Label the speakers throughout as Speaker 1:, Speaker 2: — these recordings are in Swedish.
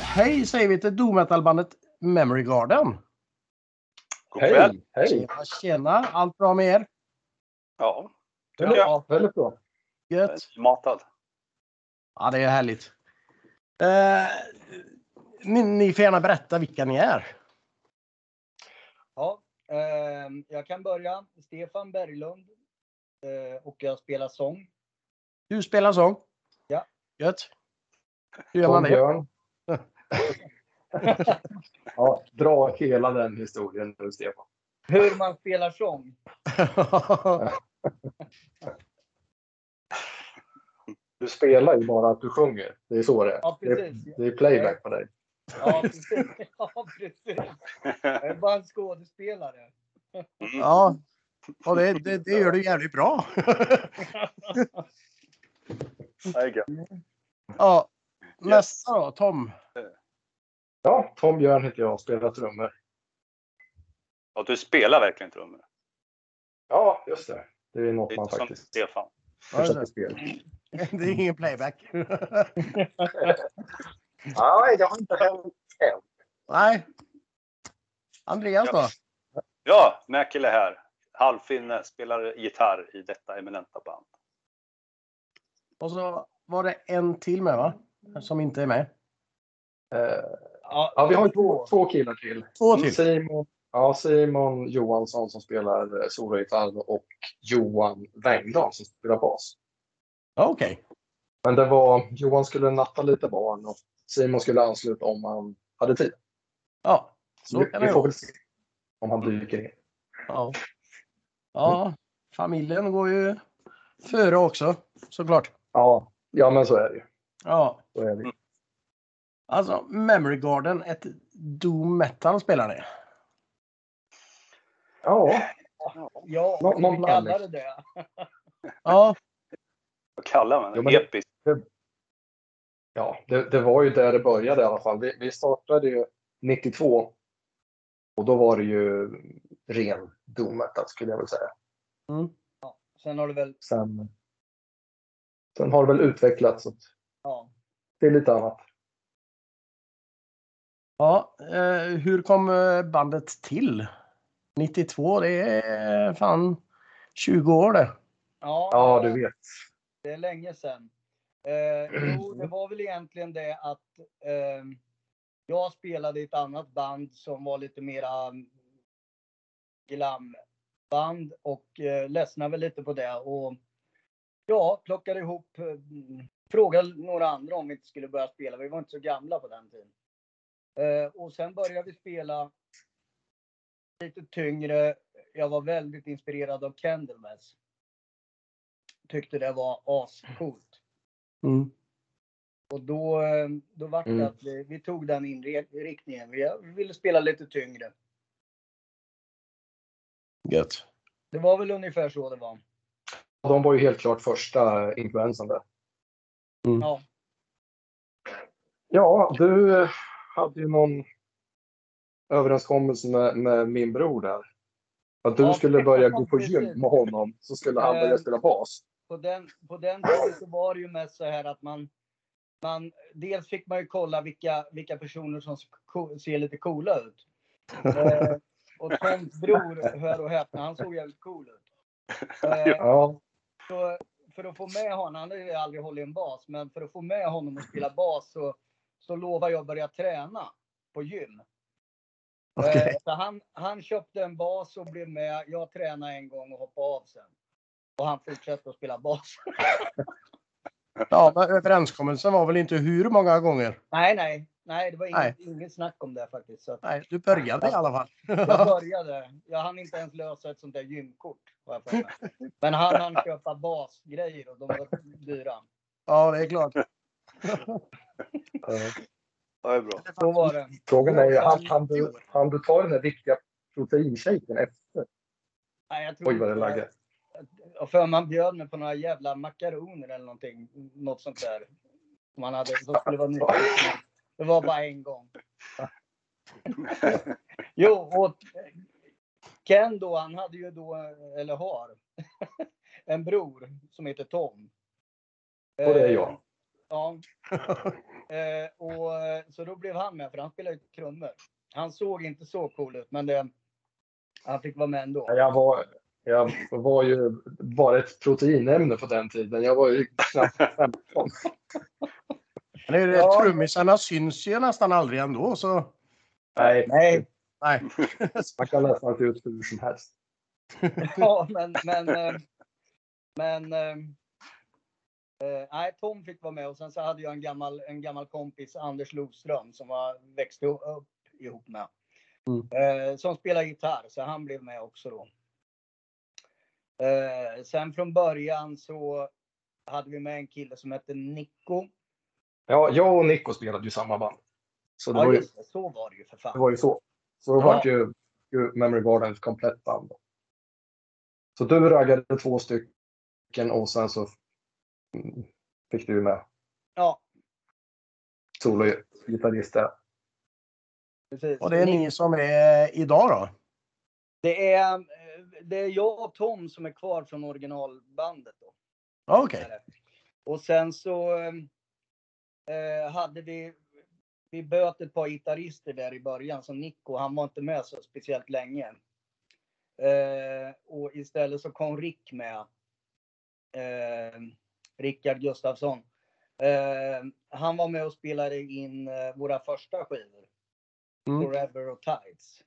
Speaker 1: Hej säger vi till doom metal-bandet Memory Garden.
Speaker 2: God kväll.
Speaker 3: Hej! Hej!
Speaker 1: Tjena, tjena! Allt bra med er?
Speaker 2: Ja,
Speaker 3: Väldigt bra, väldigt bra.
Speaker 2: jag är
Speaker 1: Gött?
Speaker 2: matad.
Speaker 1: Ja, det är härligt. Eh, ni, ni får gärna berätta vilka ni är.
Speaker 4: Ja, eh, jag kan börja. Stefan Berglund. Eh, och jag spelar sång.
Speaker 1: Du spelar sång?
Speaker 4: Ja.
Speaker 1: Gött! Hur gör
Speaker 3: Tom
Speaker 1: man det?
Speaker 3: Björn. ja, dra hela den historien nu, Stefan.
Speaker 4: Hur man spelar sång.
Speaker 3: Du spelar ju bara att du sjunger. Det är så det är.
Speaker 4: Ja,
Speaker 3: Det är,
Speaker 4: precis.
Speaker 3: det är playback på dig.
Speaker 4: Ja, precis. Ja, precis. Jag är bara en skådespelare.
Speaker 1: ja, och det, det, det gör du jävligt bra.
Speaker 2: Det är gött.
Speaker 1: ja. Nästa då, Tom.
Speaker 3: Ja, Tom Björn heter jag och spelar trummor.
Speaker 2: Och du spelar verkligen trummor.
Speaker 3: Ja, just det. Det är något
Speaker 2: Det är
Speaker 3: man
Speaker 2: inte som
Speaker 3: faktiskt
Speaker 2: Stefan.
Speaker 3: försöker spela.
Speaker 1: Det är ingen playback.
Speaker 3: Nej, det har inte hänt än.
Speaker 1: Nej. Andreas då?
Speaker 2: Ja, Mäkelä här. Halvfinne, spelar gitarr i detta eminenta band.
Speaker 1: Och så var det en till med va? Som inte är med.
Speaker 3: Eh, Ja, vi har ju två, två killar till.
Speaker 1: Två till.
Speaker 3: Simon, ja, Simon Johansson som spelar eh, sologitarr och Johan Wengdahl som spelar bas.
Speaker 1: Ja, Okej.
Speaker 3: Men det var, Johan skulle natta lite barn och Simon skulle ansluta om han hade tid.
Speaker 1: Ja.
Speaker 3: Så
Speaker 1: Så
Speaker 3: vi,
Speaker 1: kan
Speaker 3: vi
Speaker 1: det Mm.
Speaker 3: får
Speaker 1: gå.
Speaker 3: väl se om han dyker in.
Speaker 1: ja. ja. Familjen går ju före också såklart.
Speaker 3: Ja, ja men så är det ju.
Speaker 1: Ja.
Speaker 3: Så är det. ju.
Speaker 1: Alltså Memory Garden, ett doom metal spelar ni.
Speaker 3: Ja,
Speaker 4: Ja,
Speaker 3: Nå-
Speaker 4: vi
Speaker 3: någon
Speaker 4: kallar det det.
Speaker 1: Ja.
Speaker 2: Vad kallar man det?
Speaker 3: Jo, men det-
Speaker 2: Episkt.
Speaker 3: ja det, det var ju där det började i alla fall. Vi, vi startade ju 92 och då var det ju ren doom metal skulle jag väl säga.
Speaker 1: Mm.
Speaker 4: Sen har du väl,
Speaker 3: Sen, sen har det väl utvecklats åt
Speaker 4: ja.
Speaker 3: till lite annat.
Speaker 1: ja. Eh, hur kom eh, bandet till? 92, det är fan 20 år det.
Speaker 4: Ja,
Speaker 3: Ja, du vet.
Speaker 4: Det är länge sedan. Eh, jo, det var väl egentligen det att eh, jag spelade i ett annat band som var lite mera mm, glamband och eh, ledsnade väl lite på det och ja, plockade ihop, eh, frågade några andra om vi inte skulle börja spela. Vi var inte så gamla på den tiden. Eh, och sen började vi spela lite tyngre. Jag var väldigt inspirerad av Candlemass tyckte det var ascoolt.
Speaker 1: Mm.
Speaker 4: Och då, eh, då var det
Speaker 3: Mm.
Speaker 4: att vi, vi tog den inriktningen. Vi vi ville spela lite tyngre.
Speaker 1: Gött.
Speaker 4: Det var väl ungefär så det var.
Speaker 3: De var ju helt klart första influensen där.
Speaker 1: Mm.
Speaker 4: Ja.
Speaker 3: Ja, du eh, hade ju någon överenskommelse med, med min bror där. Att du
Speaker 4: Ja,
Speaker 3: skulle börja gå på
Speaker 4: precis.
Speaker 3: gym med honom så skulle han börja
Speaker 4: Eh.
Speaker 3: spela bas.
Speaker 4: På den, på den tiden så var det ju mest så här att man, man dels fick man ju kolla vilka, vilka personer som sko- ser lite coola ut. Eh, och Toms bror, hör och häpna, han såg jävligt cool ut. Eh,
Speaker 3: Ja,
Speaker 4: Så för att få med honom, han har ju aldrig hållit en bas, men för att få med honom att spela bas så, så lovar jag att börja träna på gym. Eh,
Speaker 1: Okej.
Speaker 4: Så han, han köpte en bas och blev med. Jag tränade en gång och hoppade av sen. Och han fortsatte att spela bas.
Speaker 1: Ja, men överenskommelsen var väl inte hur många gånger?
Speaker 4: nej, nej, nej, det var
Speaker 1: Nej.
Speaker 4: inget, inget snack om det faktiskt. Så att
Speaker 1: Nej, du började i alla fall.
Speaker 4: jag började. Jag hann inte ens lösa ett sånt där gymkort. Har jag för mig. men han hann köpa basgrejer och de var dyra.
Speaker 1: Ja, det är klart.
Speaker 3: eh,
Speaker 2: Ja, Det är bra.
Speaker 4: Så var det.
Speaker 3: frågan är ju, han, han, du, han du tar den där viktiga proteinshaken efter?
Speaker 4: Nej, jag tror
Speaker 3: Oj, vad det
Speaker 4: inte-
Speaker 3: laggar.
Speaker 4: Och för man bjöd mig på några jävla makaroner eller någonting. Något sånt där. Som man hade, som skulle vara nyttigt. men Det var bara en gång. Jo, och Ken då, han hade ju då, eller har, en bror som heter Tom.
Speaker 3: Och det är jag.
Speaker 4: Ja. Eh, och eh, så så då blev han med, för han spelade ju trummor. Han såg inte så cool ut, men det, han fick vara med ändå.
Speaker 3: Jag var, jag var ju bara ett proteinämne på den tiden. Jag var ju knappt 15.
Speaker 1: Men det är ju det,
Speaker 4: Ja.
Speaker 1: Trummisarna syns ju nästan aldrig ändå så
Speaker 3: Nej,
Speaker 4: Nej,
Speaker 1: nej.
Speaker 3: man kan nästan se ut hur som helst.
Speaker 4: ja, men... Men... eh, men eh, eh, nej, Tom fick vara med och sen så hade jag en gammal, en gammal kompis, Anders Loström, som var, växte upp ihop med.
Speaker 1: Mm.
Speaker 4: Eh, som spelar gitarr, så han blev med också då. Eh, sen från början så hade vi med en kille som hette Nico.
Speaker 3: Ja, jag och Nico spelade ju samma band. Så det,
Speaker 4: Ja,
Speaker 3: var, ju,
Speaker 4: just det, så var det ju för
Speaker 3: det
Speaker 4: fan.
Speaker 3: var ju så. Så då
Speaker 4: Ja.
Speaker 3: vart ju, ju Memory Garden ett komplett band. Så du raggade två stycken och sen så mm, fick du med
Speaker 4: Ja,
Speaker 3: sologitarrister.
Speaker 4: precis.
Speaker 1: Och det är ni som är idag då?
Speaker 4: Det är, eh, det är jag och Tom som är kvar från originalbandet. Då.
Speaker 1: Ja, Okej.
Speaker 4: Och sen så eh, hade vi, vi böt ett par gitarrister där i början, så Nico, han var inte med så speciellt länge. Eh, och istället så kom Rick med. Eh, Rickard Gustafsson. Eh, han var med och spelade in eh, våra första skivor.
Speaker 1: Mm.
Speaker 4: Forever och Tides.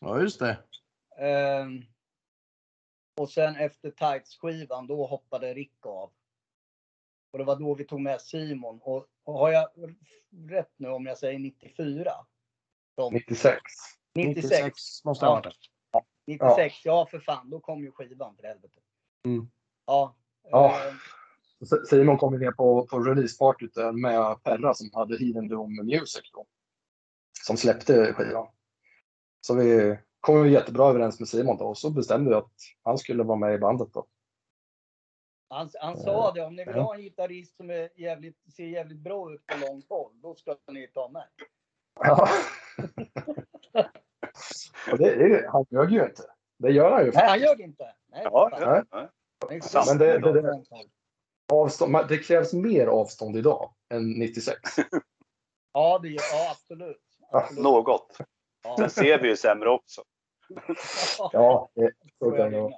Speaker 1: Ja just det.
Speaker 4: Ehm, och sen efter Tights-skivan, då hoppade Rick av. Och det var då vi tog med Simon. Och, och har jag rätt nu om jag säger 94?
Speaker 3: 96.
Speaker 4: 96.
Speaker 1: 96 måste det ha varit.
Speaker 4: 96, ja. för fan, då kom ju skivan för helvete.
Speaker 1: Mm.
Speaker 4: Ja.
Speaker 3: Ja.
Speaker 4: ehm,
Speaker 3: S- Simon kom ju ner på, på releasepartyt där med Perra som hade Hidden Dome Music då. Som släppte skivan. Så vi kom ju jättebra överens med Simon då och så bestämde vi att han skulle vara med i bandet då.
Speaker 4: han, han sa det, om ni vill
Speaker 3: Ja.
Speaker 4: ha en gitarrist som är jävligt, ser jävligt bra ut på långt håll, då ska ni ta med.
Speaker 3: Ja. och det, är ju- han ljög ju inte. Det gör han ju.
Speaker 4: Nej, han gör det inte. Nej,
Speaker 2: Ja,
Speaker 4: fan.
Speaker 2: ja, ja.
Speaker 4: Det är
Speaker 2: sant.
Speaker 3: Men det- det- det-
Speaker 4: på långt håll.
Speaker 3: Avstånd, man- det krävs mer avstånd idag än 96.
Speaker 4: Ja, det, ja, absolut. absolut.
Speaker 2: Något.
Speaker 4: Ja.
Speaker 2: Sen ser vi ju sämre också.
Speaker 3: Ja, det, så
Speaker 4: Så
Speaker 3: kan
Speaker 4: är
Speaker 3: det vara.
Speaker 4: det.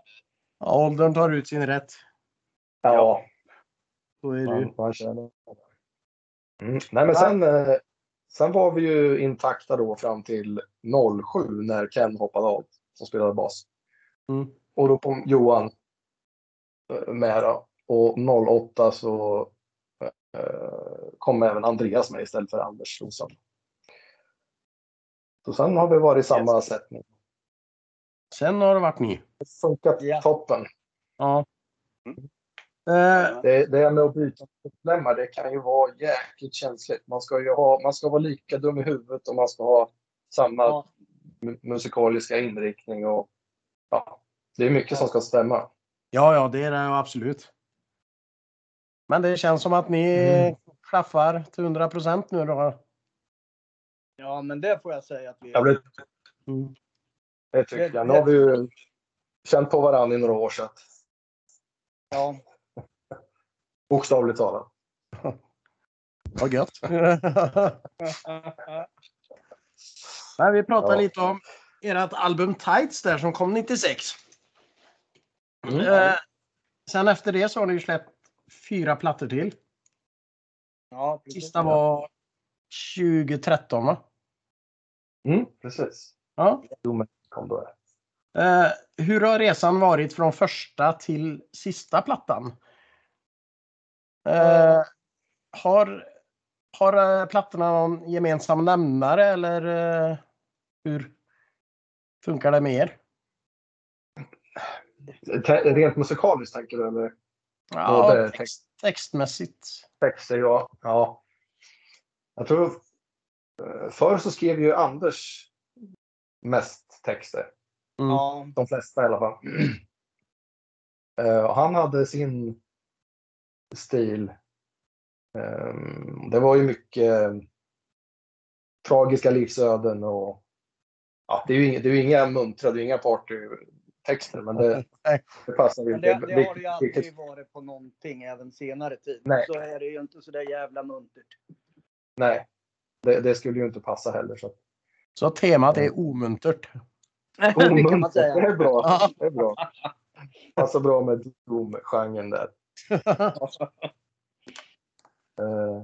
Speaker 1: Ja, åldern tar ut sin rätt.
Speaker 3: ja,
Speaker 1: Så är det ju.
Speaker 3: man, man känner. Mm. Nej, men sen, eh, sen var vi ju intakta då fram till 07 när Ken hoppade av som spelade bas.
Speaker 1: Mm.
Speaker 3: Och då kom Johan eh, med då. Och 08 så eh, kom även Andreas med istället för Anders Rosan. Så sen har vi varit i samma
Speaker 2: Yes.
Speaker 3: sättning.
Speaker 1: Sen har det varit ni.
Speaker 3: Det har funkat
Speaker 4: Ja.
Speaker 3: toppen.
Speaker 1: Ja.
Speaker 2: Mm.
Speaker 1: Eh,
Speaker 3: Det, det här med att byta medlemmar, det kan ju vara jäkligt känsligt. Man ska ju ha, man ska vara lika dum i huvudet och man ska ha samma
Speaker 4: Ja.
Speaker 3: mu- musikaliska inriktning och ja, det är mycket som ska stämma.
Speaker 1: ja, ja, det är det absolut. Men det känns som att ni
Speaker 3: Mm.
Speaker 1: klaffar till 100 procent nu då.
Speaker 4: Ja, men det får jag säga att vi
Speaker 3: Jag blir,
Speaker 1: Mm.
Speaker 3: det tycker jag. Nu har vi ju känt på varandra i några år så att,
Speaker 4: ja,
Speaker 3: bokstavligt talat.
Speaker 1: Vad gött. Men vi pratar
Speaker 3: Ja.
Speaker 1: lite om ert album Tights där som kom 96.
Speaker 3: Mm.
Speaker 1: Eh, sen efter det så har ni ju släppt fyra plattor till.
Speaker 4: ja, precis.
Speaker 1: Sista var 2013 va?
Speaker 3: Mm, precis.
Speaker 1: Ja.
Speaker 3: Kom då.
Speaker 1: Eh, hur har resan varit från första till sista plattan? Eh, har, har eh, plattorna någon gemensam nämnare eller eh, hur funkar det med er?
Speaker 3: Te- Rent musikaliskt tänker du eller?
Speaker 1: Ja,
Speaker 3: Både
Speaker 1: text, textmässigt.
Speaker 3: texter, ja. ja. Jag tror... eh, Förr så skrev ju Anders mest texter.
Speaker 1: Mm.
Speaker 4: Ja,
Speaker 3: De flesta i alla fall. Eh, och han hade sin stil. Ehm, det var ju mycket eh, tragiska livsöden och ja, det, är ju inga, det är ju inga muntra, det är ju inga partytexter men det,
Speaker 1: Nej.
Speaker 3: det passar ju
Speaker 4: men
Speaker 3: inte.
Speaker 4: det, det har det ju
Speaker 3: Vilket-
Speaker 4: alltid varit på någonting även senare tid.
Speaker 3: Nej.
Speaker 4: Så är det ju inte så där jävla muntert.
Speaker 3: Nej, det, det skulle ju inte passa heller. Så.
Speaker 1: Så temat är omuntert.
Speaker 4: det kan man
Speaker 3: Omuntert,
Speaker 4: säga.
Speaker 3: Det är bra.
Speaker 1: Ja.
Speaker 3: Det är bra. Passar bra med Doom-genren där. Eh,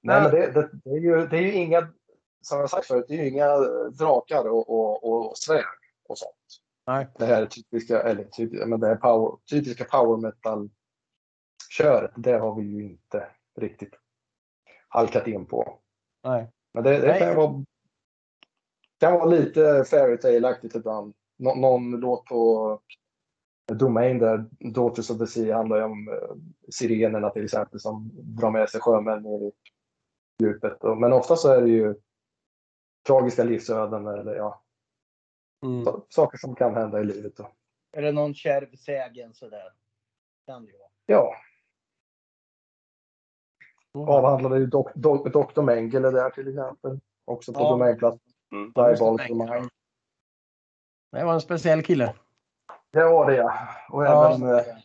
Speaker 3: Nej, men det, det, det, är ju, det är ju inga, som jag sagt förut, det är ju inga drakar och, och, och svärd och sånt.
Speaker 1: Nej.
Speaker 3: Det här typiska, eller typiska, men det här power, typiska power metal-köret, det har vi ju inte riktigt halkat in på.
Speaker 1: Nej.
Speaker 3: Men det, det
Speaker 1: Nej.
Speaker 3: kan, vara, kan vara lite fairy tale-aktigt ibland. Nå, någon låt på Domain där, Daughters of the Sea, handlar ju om eh, sirenerna till exempel som drar med sig sjömän ner i djupet. Och- Men ofta så är det ju tragiska livsöden eller ja,
Speaker 1: Mm.
Speaker 3: sa- saker som kan hända i livet. Och,
Speaker 4: Är det någon kärv sägen sådär? Kan det ju vara.
Speaker 3: ja, avhandlade ju dok, dok, Dr. Mengele där till exempel. Också på
Speaker 4: Ja.
Speaker 3: Domainplatsen.
Speaker 2: Mm.
Speaker 3: Diabolic
Speaker 1: Mengele.
Speaker 3: Domain.
Speaker 1: Det var en speciell kille.
Speaker 3: Det var det ja. Och
Speaker 1: Ja.
Speaker 3: även eh,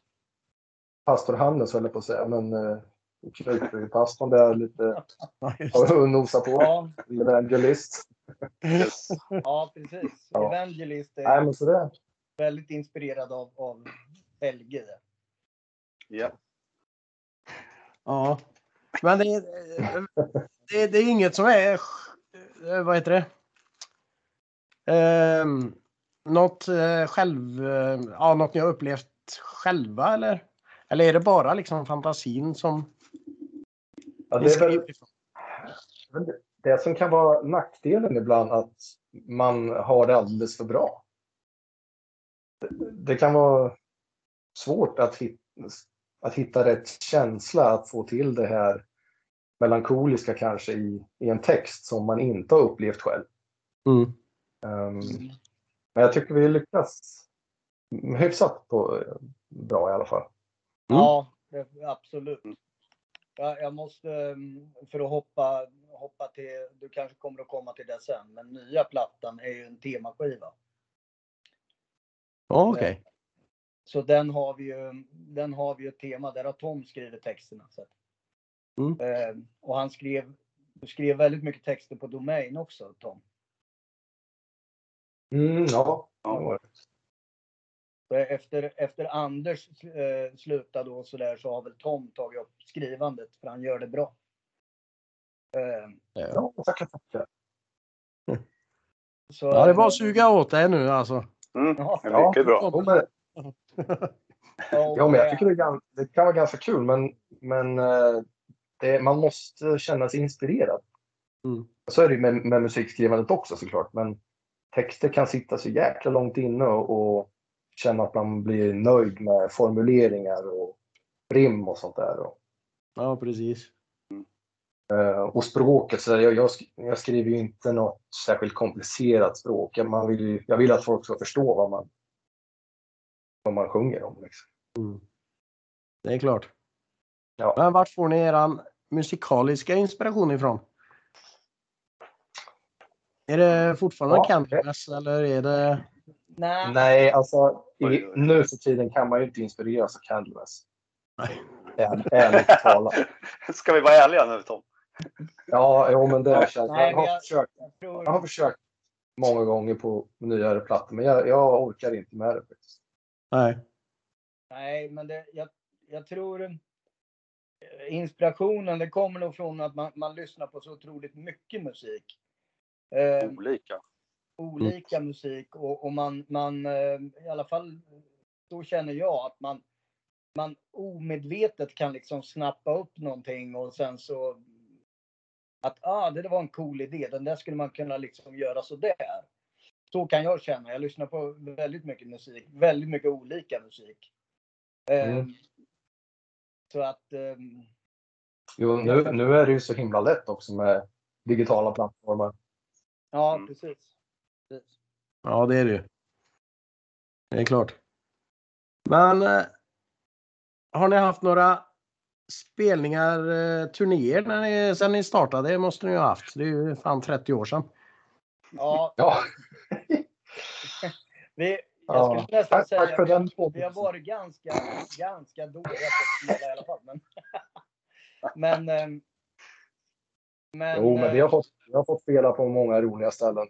Speaker 3: pastor Hannes höll jag på att säga. Men eh, kyrkbypastorn där lite
Speaker 1: Ja, just.
Speaker 3: och nosar på.
Speaker 4: Ja,
Speaker 3: Evangelist.
Speaker 2: Yes.
Speaker 4: ja precis.
Speaker 3: Ja.
Speaker 4: Evangelist är
Speaker 3: Nej men sådär.
Speaker 4: väldigt inspirerad av, av Helge. där.
Speaker 2: Ja.
Speaker 1: Ja. Men det, det, det är inget som är, eh, vad heter det? Ehm, något eh, själv, eh, ja något ni har upplevt själva eller? Eller är det bara liksom fantasin som
Speaker 3: Ja,
Speaker 1: ni
Speaker 3: det är väl
Speaker 1: skriver ifrån?
Speaker 3: det som kan vara nackdelen ibland att man har det alldeles för bra. Det, det kan vara svårt att hitta, att hitta rätt känsla, att få till det här melankoliska kanske i, i en text som man inte har upplevt själv.
Speaker 1: Mm.
Speaker 3: Ehm, men jag tycker vi lyckas hyfsat på, bra i alla fall.
Speaker 1: Mm.
Speaker 4: Ja, det, absolut.
Speaker 2: Mm.
Speaker 4: Ja, jag måste, ehm, för att hoppa, hoppa till, du kanske kommer att komma till det sen, men nya plattan är ju en temaskiva.
Speaker 1: Ja, Okej.
Speaker 4: Så den har vi ju, den har vi ju ett tema, där har Tom skrivit texterna. Så. att-
Speaker 1: Mm.
Speaker 4: Eh, och han skrev, skrev väldigt mycket texter på Domain också, Tom.
Speaker 3: Mm, ja.
Speaker 2: Ja.
Speaker 4: Så Efter, efter Anders eh, slutade och sådär så har väl Tom tagit upp skrivandet, för han gör det bra. Eh,
Speaker 3: ja, tackar, tackar.
Speaker 4: så, eh,
Speaker 1: Ja, det var att suga åt dig nu alltså.
Speaker 2: Mm.
Speaker 4: Ja,
Speaker 2: Det är mycket bra.
Speaker 3: Jo, men-
Speaker 4: och- eh,
Speaker 3: Ja, men jag tycker det, är gan- det kan vara ganska kul, men, men eh, det, man måste känna sig inspirerad.
Speaker 1: Mm.
Speaker 3: Så är det ju med, med musikskrivandet också såklart, men texter kan sitta så jäkla långt inne och, och känna att man blir nöjd med formuleringar och rim och sånt där. Och,
Speaker 1: Ja, precis.
Speaker 3: eh, och språket, så jag, jag, sk- jag skriver ju inte något särskilt komplicerat språk. Jag- Man vill, ju- jag vill att folk ska förstå vad man, vad man sjunger om. Liksom.
Speaker 1: Det är klart.
Speaker 3: Ja.
Speaker 1: Men vart får ni eran musikaliska inspiration ifrån? Är det fortfarande
Speaker 3: Ja,
Speaker 1: Candlemass eller är det...
Speaker 4: Nej,
Speaker 3: Nej, alltså
Speaker 2: Oj,
Speaker 3: i,
Speaker 2: oj, oj.
Speaker 3: nu för tiden kan man ju inte inspireras av Candlemass.
Speaker 1: Nej.
Speaker 3: Är- Ärligt talat.
Speaker 2: Ska vi vara ärliga nu Tom?
Speaker 3: Ja, jo, men det har jag känt.
Speaker 4: Nej,
Speaker 3: Jag
Speaker 4: men
Speaker 3: har
Speaker 4: jag-
Speaker 3: försökt,
Speaker 4: jag tror...
Speaker 3: jag har försökt många gånger på nyare plattor, men jag, jag orkar inte med det. faktiskt.
Speaker 1: Nej.
Speaker 4: Nej, men det, jag, jag tror eh, inspirationen det kommer nog från att man, man lyssnar på så otroligt mycket musik. Eh,
Speaker 3: Mm.
Speaker 2: Olika.
Speaker 4: olika musik och, och man, man eh, i alla fall så känner jag att man, man omedvetet kan liksom snappa upp någonting och sen så att ah, det där var en cool idé, den där skulle man kunna liksom göra sådär. Så kan jag känna, jag lyssnar på väldigt mycket musik, väldigt mycket olika musik. Eh,
Speaker 3: Mm.
Speaker 4: Så att ehm,
Speaker 3: Jo, nu, nu är det ju så himla lätt också med digitala plattformar.
Speaker 4: ja,
Speaker 2: Mm.
Speaker 4: precis. precis.
Speaker 1: Ja, det är det ju. Det är klart. Men eh, har ni haft några spelningar, eh, turnéer när ni, sen ni startade? Det måste ni ju ha haft. Det är ju fan 30 år sedan.
Speaker 4: Ja,
Speaker 3: Ja,
Speaker 4: vi, jag
Speaker 3: Ja.
Speaker 4: skulle nästan
Speaker 3: tack,
Speaker 4: säga
Speaker 3: tack för
Speaker 4: vi har-
Speaker 3: den
Speaker 4: Vi har varit ganska, ganska dåliga på att spela i alla fall. Men, men eh, ehm, Men,
Speaker 3: Jo, men vi
Speaker 4: eh,
Speaker 3: har fått, vi har fått spela på många roliga ställen.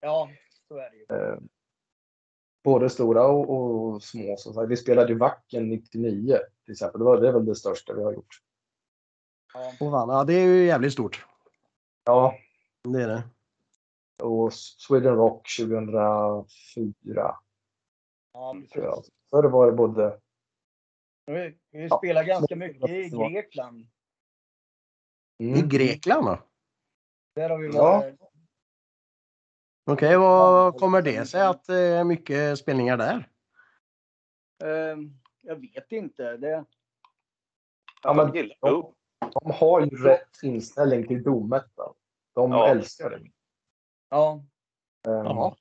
Speaker 4: Ja, så är det ju.
Speaker 3: Både stora och, och små. Som sagt. Vi spelade ju Vacken 99 till exempel. Det, var, det är väl det största vi har gjort.
Speaker 4: Ja.
Speaker 1: Och vann. Ja, det är ju jävligt stort.
Speaker 3: Ja,
Speaker 1: Det är det.
Speaker 3: och Sweden Rock 2004.
Speaker 4: Ja,
Speaker 3: tror jag.
Speaker 4: precis.
Speaker 3: Förr var det både...
Speaker 4: Vi, vi
Speaker 3: Ja.
Speaker 4: spelar ganska mycket i Grekland.
Speaker 3: Mm.
Speaker 1: I Grekland då?
Speaker 4: Där har vi
Speaker 3: Ja.
Speaker 4: varit.
Speaker 1: Okej, vad kommer det sig att det är mycket spelningar där?
Speaker 4: Ehm, jag vet inte. Det,
Speaker 3: Ja, men-
Speaker 2: gillar- jo.
Speaker 3: De har ju rätt inställning till dometal. De
Speaker 2: Ja.
Speaker 3: älskar det.
Speaker 4: ja,
Speaker 3: Ehm,
Speaker 1: Jaha.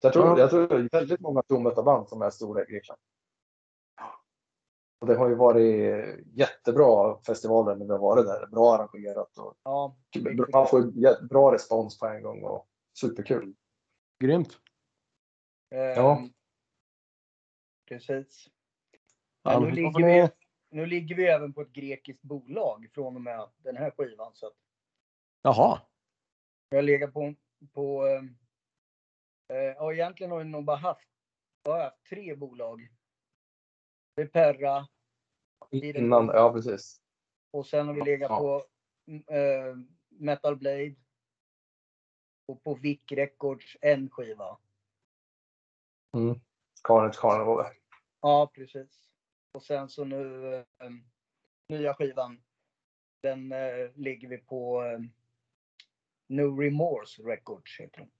Speaker 3: Så jag, tror,
Speaker 1: Ja.
Speaker 3: jag tror det är väldigt många dometalband som är stora i Grekland. Och det har ju varit jättebra festivaler när vi har varit där. Bra arrangerat och
Speaker 4: ja.
Speaker 3: man får ju jä- bra respons på en gång och superkul.
Speaker 1: Grymt.
Speaker 4: Ehm,
Speaker 3: Ja.
Speaker 4: Precis.
Speaker 1: Ja,
Speaker 4: nu
Speaker 1: då
Speaker 4: ligger
Speaker 1: får ni-
Speaker 4: Nu ligger vi även på ett grekiskt bolag från och med den här skivan. Så att
Speaker 1: Jaha,
Speaker 4: vi har legat på, på ehm, eh, ja, egentligen har vi nog bara haft, jag har haft tre bolag. Det är Perra det-
Speaker 3: Innan, ja precis.
Speaker 4: och sen har vi legat
Speaker 3: Ja.
Speaker 4: på eh, Metal Blade. Och på Vic Records en skiva.
Speaker 3: Carnage Carnival.
Speaker 4: Ja, precis. Och sen så nu eh, nya skivan. Den eh, ligger vi på eh, No Remorse Records heter den.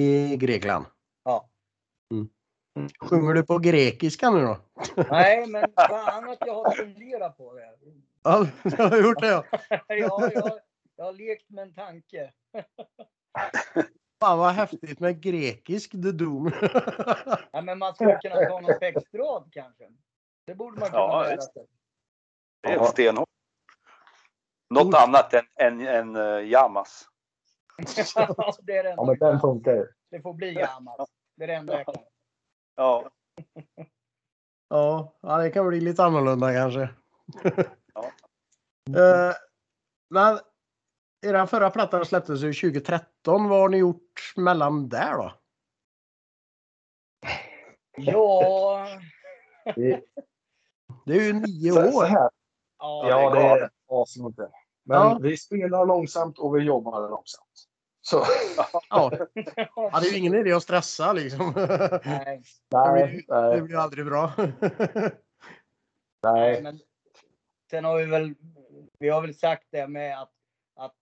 Speaker 1: i Grekland. Mm.
Speaker 4: Ja.
Speaker 1: Sjunger du på grekiska nu då?
Speaker 4: Nej, men fan att jag har funderat på det.
Speaker 1: Ja, jag har gjort det. ja.
Speaker 4: Jag, jag, jag har lekt med en tanke.
Speaker 1: Fan vad häftigt med grekisk The Doom.
Speaker 4: Ja, men man skulle kunna ta någon textrad kanske. Det borde man kunna
Speaker 2: Ja,
Speaker 4: lära
Speaker 2: visst.
Speaker 4: sig.
Speaker 2: Det är
Speaker 3: Ja.
Speaker 2: stenhårt. Något
Speaker 1: Oj.
Speaker 2: annat än, än, än eh, Yamas.
Speaker 4: Ja, det, är
Speaker 3: Ja
Speaker 4: det, enda.
Speaker 3: men den funkar ju.
Speaker 4: det får bli gammalt. Det är det enda jag kan.
Speaker 2: Ja,
Speaker 1: ja, ja, det kan bli lite annorlunda kanske.
Speaker 2: Ja.
Speaker 1: Eh, Men era förra platta släpptes ju 2013. Vad har ni gjort mellan där då?
Speaker 4: Ja,
Speaker 3: Det-
Speaker 1: Det är ju nio
Speaker 3: Så, så
Speaker 1: år.
Speaker 3: här.
Speaker 4: ja,
Speaker 3: Ja det
Speaker 2: det är
Speaker 3: är
Speaker 2: galet.
Speaker 3: asroligt. Men
Speaker 1: Ja.
Speaker 3: vi spelar långsamt och vi jobbar långsamt. Så
Speaker 1: Ja, ja, det är ju ingen idé att stressa liksom.
Speaker 4: Nej,
Speaker 3: nej,
Speaker 1: Det
Speaker 3: nej,
Speaker 1: blir ju aldrig bra.
Speaker 3: nej.
Speaker 4: men sen har vi väl, vi har väl sagt det med att, att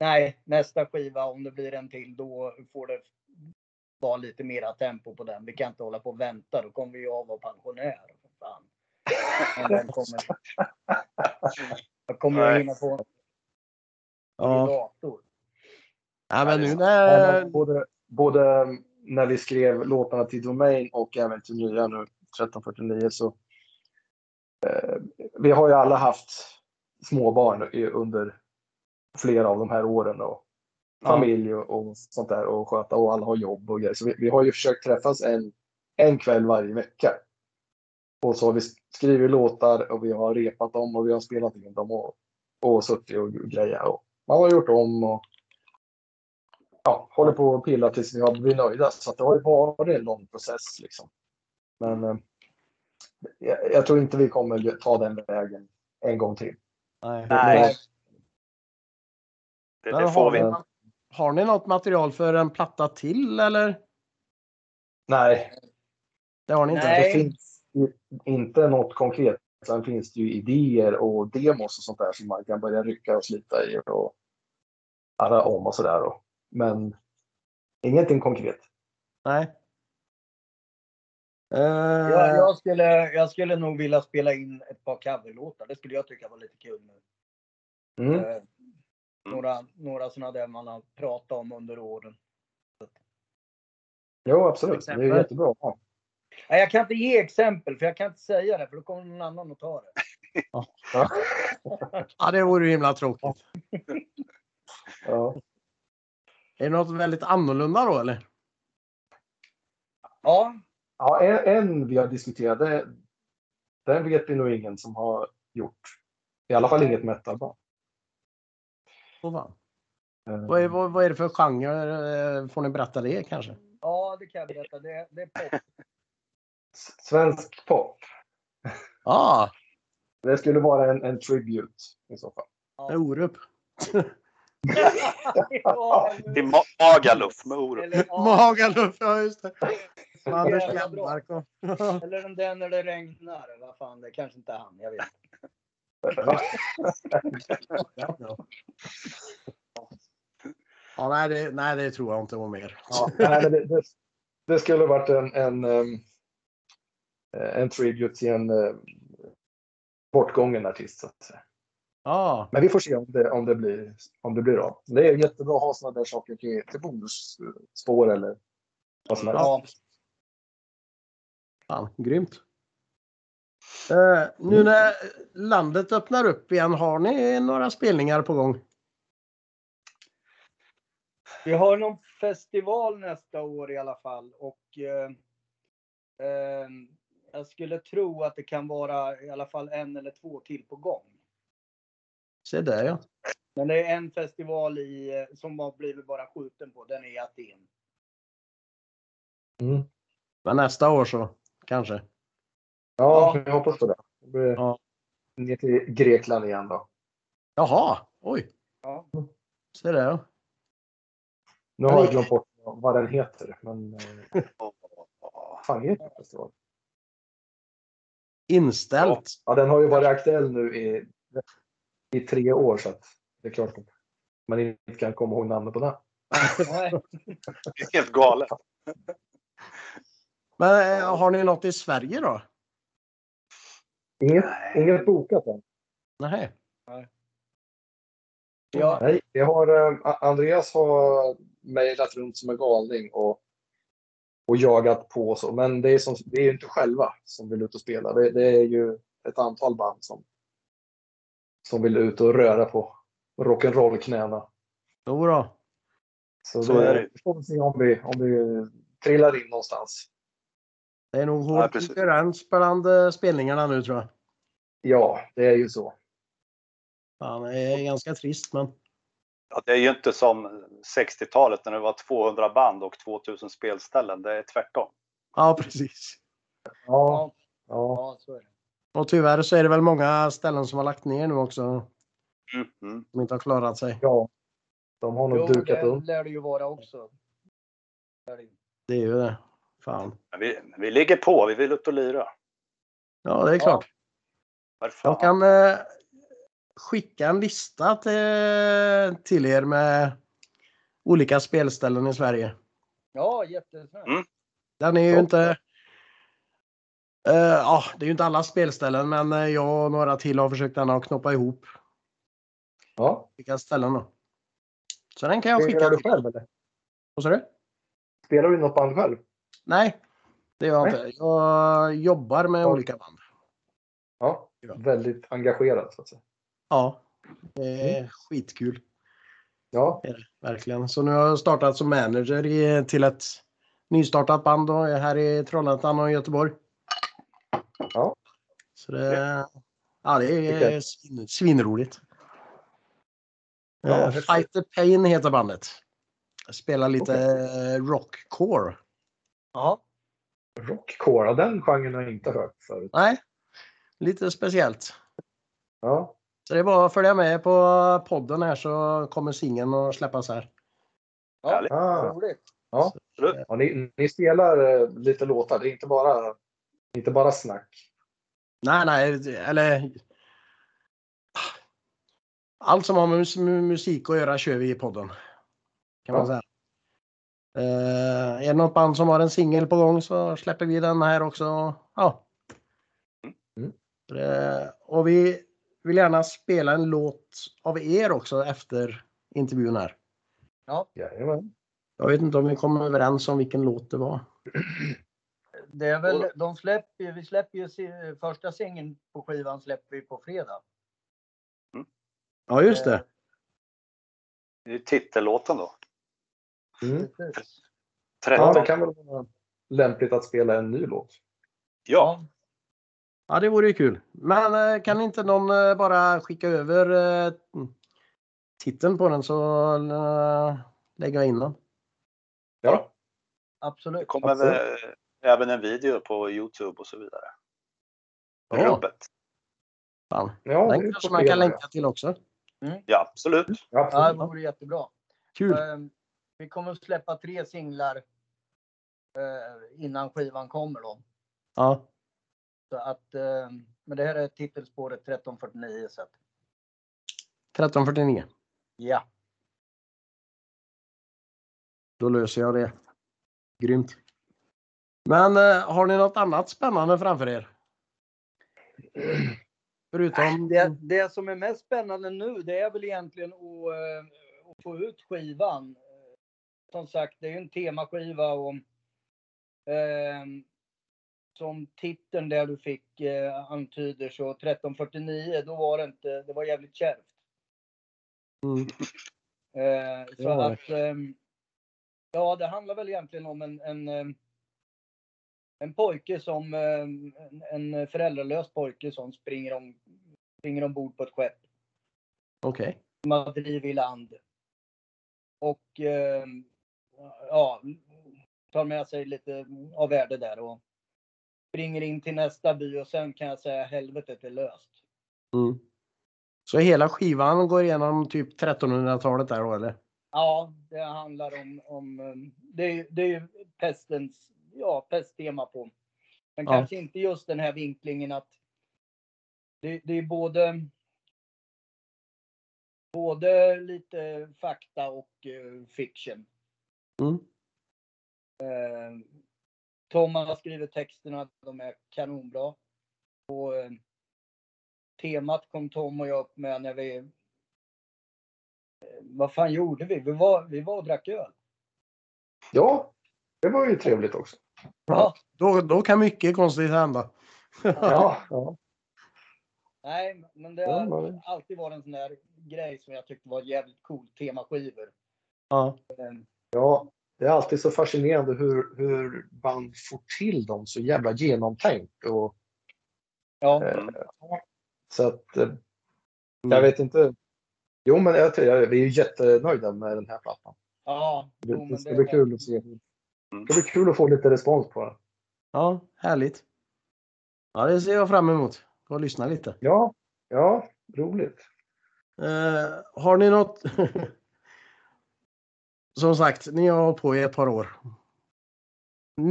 Speaker 4: nej, nästa skiva om det blir en till, då får det vara lite mera tempo på den. Vi kan inte hålla på och vänta, då kommer vi ju av och pensionär. För fan. Om den kommer. Jag kommer att
Speaker 2: Nej.
Speaker 4: hinna på en
Speaker 1: Ja,
Speaker 4: dator.
Speaker 1: ja men nu
Speaker 3: Nej,
Speaker 1: när...
Speaker 3: men både, både när vi skrev låtarna till Domain och även till nya nu, 1349, så eh, vi har ju alla haft småbarn i- under flera av de här åren och
Speaker 1: Ja.
Speaker 3: familj och, och sånt där och sköta och alla har jobb och grejer. Så vi, vi har ju försökt träffas en, en kväll varje vecka. Och så har vi skrivit låtar och vi har repat dem och vi har spelat in dem och, och suttit och grejat. Och man har gjort om och ja, håller på och pillar tills vi har blivit nöjda. Så att det har ju varit en lång process. Liksom. Men eh, jag, jag tror inte vi kommer ta den vägen en gång till.
Speaker 1: Nej.
Speaker 2: Nej. det,
Speaker 1: Men
Speaker 2: det får vi.
Speaker 1: har, ni, har ni något material för en platta till eller?
Speaker 3: Nej,
Speaker 1: Det har ni inte?
Speaker 4: Nej.
Speaker 3: det finns ju inte något konkret. Sen finns det ju idéer och demos och sånt där som man kan börja rycka och slita i och alla om och sådär. då. Men ingenting konkret.
Speaker 1: Nej. Eh,
Speaker 4: Jag, jag, skulle, jag skulle nog vilja spela in ett par coverlåtar. Det skulle jag tycka var lite kul nu.
Speaker 3: Mm.
Speaker 4: Eh, Några, några sådana där man har pratat om under åren.
Speaker 3: Jo, absolut. Det är ju
Speaker 1: Exempel.
Speaker 3: jättebra. Ja.
Speaker 4: Nej, jag kan inte ge exempel för jag kan inte säga det för då kommer någon annan att ta det.
Speaker 1: Ja, det vore ju himla tråkigt.
Speaker 3: Ja.
Speaker 1: Är det något väldigt annorlunda då eller?
Speaker 4: Ja,
Speaker 3: Ja, en, en vi har diskuterat, det, den vet vi nog ingen som har gjort. I alla fall inget metalband.
Speaker 1: Åh, fan.
Speaker 3: Eh,
Speaker 1: Vad, är, vad, vad är det för genre? eh, Får ni berätta det kanske?
Speaker 4: Ja, det kan jag berätta. Det, det är pop.
Speaker 3: s- Svensk pop.
Speaker 1: Ja,
Speaker 3: Det skulle vara en, en tribute i så fall.
Speaker 1: det är Orup.
Speaker 4: ja,
Speaker 2: Till Ma- Magaluf med Orup.
Speaker 4: eller, ja,
Speaker 1: Magaluf, ja just det. Med Anders
Speaker 4: Jävla bra.
Speaker 1: Lennmark och...
Speaker 4: eller den där när det regnar. Vad fan, det är kanske inte är han. Jag vet.
Speaker 1: Ja, nej, det, nej, det tror jag inte var mer.
Speaker 3: Ja, nej, men det, det, det skulle ha varit en, en, ehm, en tribute till en ehm, bortgången artist. Så att säga.
Speaker 1: Ja,
Speaker 3: Men vi får se om det, om det, blir, om det blir av. Det är jättebra att ha sådana där saker till, till bonusspår eller vad som helst.
Speaker 1: Ja. fan, grymt. Eh, nu
Speaker 3: Mm.
Speaker 1: när landet öppnar upp igen, har ni några spelningar på gång?
Speaker 4: Vi har någon festival nästa år i alla fall och eh, eh, jag skulle tro att det kan vara i alla fall en eller två till på gång.
Speaker 1: Se där ja.
Speaker 4: Men det är en festival i, eh, som har blivit bara skjuten på, den är i Aten.
Speaker 3: Mm.
Speaker 1: Men nästa år så kanske.
Speaker 3: Ja, jag hoppas på det. det blir
Speaker 1: Ja.
Speaker 3: Ner till Grekland igen då.
Speaker 1: Jaha, oj.
Speaker 4: Ja.
Speaker 1: Se där ja.
Speaker 3: Nu har jag glömt bort vad den heter. Men eh, fan heter den festivalen?
Speaker 1: Inställt.
Speaker 3: Ja, den har ju varit aktuell nu i, i tre år så att det är klart att man inte kan komma ihåg namnet på den.
Speaker 4: Nej,
Speaker 2: Det är helt galet.
Speaker 1: Men eh, har ni något i Sverige då?
Speaker 3: Inget, inget bokat än.
Speaker 1: Nej.
Speaker 4: ja,
Speaker 3: Nej, vi har, eh, A- Andreas har mejlat runt som en galning och, och jagat på och så. Men det är, som, det är ju inte själva som vill ut och spela. Det, det är ju ett antal band som, som vill ut och röra på rock'n'roll-knäna.
Speaker 1: Jo då.
Speaker 3: Så,
Speaker 2: Så
Speaker 3: det
Speaker 2: är det.
Speaker 3: vi får vi se om vi, om vi trillar in någonstans.
Speaker 1: Det är nog
Speaker 2: Ja,
Speaker 1: hård
Speaker 2: precis.
Speaker 1: konkurrens bland eh, spelningarna nu tror jag.
Speaker 3: Ja, det är ju så.
Speaker 1: Fan, det är ganska trist men.
Speaker 2: Ja, det är ju inte som 60-talet när det var 200 band och 2000 spelställen. Det är tvärtom.
Speaker 1: Ja precis.
Speaker 3: Ja,
Speaker 4: ja,
Speaker 3: ja.
Speaker 4: ja, så är det.
Speaker 1: Och tyvärr så är det väl många ställen som har lagt ner nu också.
Speaker 2: Mm. Mm.
Speaker 1: Som inte har klarat sig.
Speaker 3: ja. De har nog
Speaker 4: Jo,
Speaker 3: dukat
Speaker 4: det
Speaker 3: upp.
Speaker 4: lär det ju vara också. Det är det ju.
Speaker 1: Det är ju det. Fan.
Speaker 2: Men Vi, vi ligger på. Vi vill ut och lira.
Speaker 1: Ja det är
Speaker 4: Ja.
Speaker 1: klart.
Speaker 2: Varför?
Speaker 1: Jag kan eh, skicka en lista till, till er med olika spelställen i Sverige.
Speaker 4: Ja, jättesnällt.
Speaker 2: Mm.
Speaker 1: Den är ju
Speaker 2: Ja.
Speaker 1: inte... Eh, ja, det är ju inte alla spelställen men eh, jag och några till har försökt gärna att knoppa ihop
Speaker 3: Ja.
Speaker 1: olika ställen. Då. Så den kan jag skicka.
Speaker 3: Spelar du
Speaker 1: till-
Speaker 3: själv eller?
Speaker 1: Vad sa du?
Speaker 3: Spelar du i något band själv?
Speaker 1: Nej, det gör jag inte. Jag jobbar med
Speaker 3: Ja.
Speaker 1: olika band.
Speaker 3: Ja,
Speaker 1: Ja.
Speaker 3: väldigt engagerad så att säga.
Speaker 1: Ja, det
Speaker 3: Mm.
Speaker 1: är skitkul.
Speaker 3: Ja,
Speaker 1: Verkligen. Så nu har jag startat som manager i, till ett nystartat band då, här i Trollhättan och Göteborg.
Speaker 3: Ja.
Speaker 1: Så det, ja, det är
Speaker 3: Okej.
Speaker 1: svin, svinroligt.
Speaker 3: Ja,
Speaker 1: Eh,
Speaker 3: häftigt.
Speaker 1: Fight the Pain heter bandet. Jag Spelar lite okay. rockcore.
Speaker 4: Ja,
Speaker 3: rockcore, ja, den genren har jag inte hört förut.
Speaker 1: Nej, lite speciellt.
Speaker 3: Ja,
Speaker 1: Så det är bara att följa med på podden här så kommer singeln att släppas här.
Speaker 4: ja.
Speaker 2: Härligt.
Speaker 3: ah,
Speaker 4: roligt.
Speaker 3: ja ni, ni spelar eh, lite låtar, det är inte bara, inte bara snack.
Speaker 1: Nej, nej, eller... Allt som har med mus- med musik att göra kör vi i podden. Kan man
Speaker 3: Ja.
Speaker 1: säga. Eh, är det något band som har en singel på gång så släpper vi den här också. Ja.
Speaker 3: Mm.
Speaker 1: Eh, och vi vill gärna spela en låt av er också efter intervjun här.
Speaker 3: Jajamän.
Speaker 1: Jag vet inte om vi kom överens om vilken låt det var.
Speaker 4: Det är väl, de släpper, ju- vi släpper ju si- första singeln på skivan släpper vi på fredag.
Speaker 1: Ja, just det.
Speaker 2: Det är ju titellåten då.
Speaker 3: Mm.
Speaker 4: Precis.
Speaker 2: 13.
Speaker 3: Ja, det kan väl vara lämpligt att spela en ny låt.
Speaker 2: ja.
Speaker 1: Ja, det vore ju kul. Men eh, kan inte någon eh, bara skicka över eh, titeln på den så eh, lägger jag in den.
Speaker 3: Ja,
Speaker 2: Det
Speaker 4: Absolut.
Speaker 2: kommer väl även en video på Youtube och så vidare.
Speaker 1: Ja.
Speaker 2: Rubbet.
Speaker 1: Fan.
Speaker 3: ja
Speaker 1: Den
Speaker 3: vi
Speaker 1: kanske
Speaker 3: får
Speaker 1: man
Speaker 3: se
Speaker 1: kan
Speaker 3: det.
Speaker 1: länka till också.
Speaker 2: Ja, absolut.
Speaker 3: Ja,
Speaker 4: Ja,
Speaker 3: absolut.
Speaker 4: det vore jättebra.
Speaker 1: Kul!
Speaker 4: Ehm, Vi kommer att släppa tre singlar eh, innan skivan kommer då.
Speaker 1: Ja,
Speaker 4: Så att, eh, men det här är titelspåret 1349 så att,
Speaker 1: 1349.
Speaker 4: ja.
Speaker 1: Då löser jag det. Grymt! Men eh, har ni något annat spännande framför er? Förutom...
Speaker 4: Det, det som är mest spännande nu det är väl egentligen att, eh, att få ut skivan. Eh, Som sagt, det är ju en temaskiva och ehm, som titeln där du fick eh, antyder så 1349 då var det inte, det var jävligt kärvt.
Speaker 1: Mm,
Speaker 4: Eh, så
Speaker 1: Ja.
Speaker 4: att, ehm, ja, det handlar väl egentligen om en, en, ehm, en pojke som, ehm, en en föräldralös pojke som springer, om, springer ombord på ett skepp.
Speaker 1: Okej.
Speaker 4: Man driver i land. Och ehm, ja, tar med sig lite av värde där och springer in till nästa by och sen kan jag säga helvetet är löst.
Speaker 1: Mm. Så hela skivan går igenom typ 1300-talet där då eller?
Speaker 4: Ja, det handlar om, om eh, det, är ju- det är ju pestens, ja, pesttema på. Men
Speaker 1: Ja.
Speaker 4: kanske inte just den här vinklingen att det, det är både både lite fakta och eh, fiction.
Speaker 1: Mm.
Speaker 4: Eh, Tom har skrivit texterna, de är kanonbra. Och eh, temat kom Tom och jag upp med när vi... eh, Vad fan gjorde vi? Vi var, vi var och drack öl.
Speaker 3: ja, det var ju trevligt också.
Speaker 1: Ja. Då, då kan mycket konstigt hända.
Speaker 3: Ja, ja.
Speaker 4: Nej, men det
Speaker 3: Ja,
Speaker 4: har
Speaker 3: var det.
Speaker 4: alltid varit en sån där grej som jag tyckte var jävligt cool, temaskivor.
Speaker 1: Ja.
Speaker 3: ja, det är alltid så fascinerande hur, hur man får till dem så jävla genomtänkt. Och,
Speaker 4: Ja,
Speaker 3: eh, så att, eh, jag vet inte. Jo, men jag, tror- jag, vi är ju jättenöjda med den här plattan.
Speaker 4: ja.
Speaker 3: Det,
Speaker 4: jo,
Speaker 3: det
Speaker 4: men
Speaker 3: ska bli kul att se.
Speaker 2: Mm.
Speaker 3: Det blir kul att få lite respons på den.
Speaker 1: ja, härligt. Ja, det ser jag fram emot. Gå och lyssna lite.
Speaker 3: Ja, ja, roligt.
Speaker 1: Eh, har ni något? Som sagt, ni har hållit på i ett par år.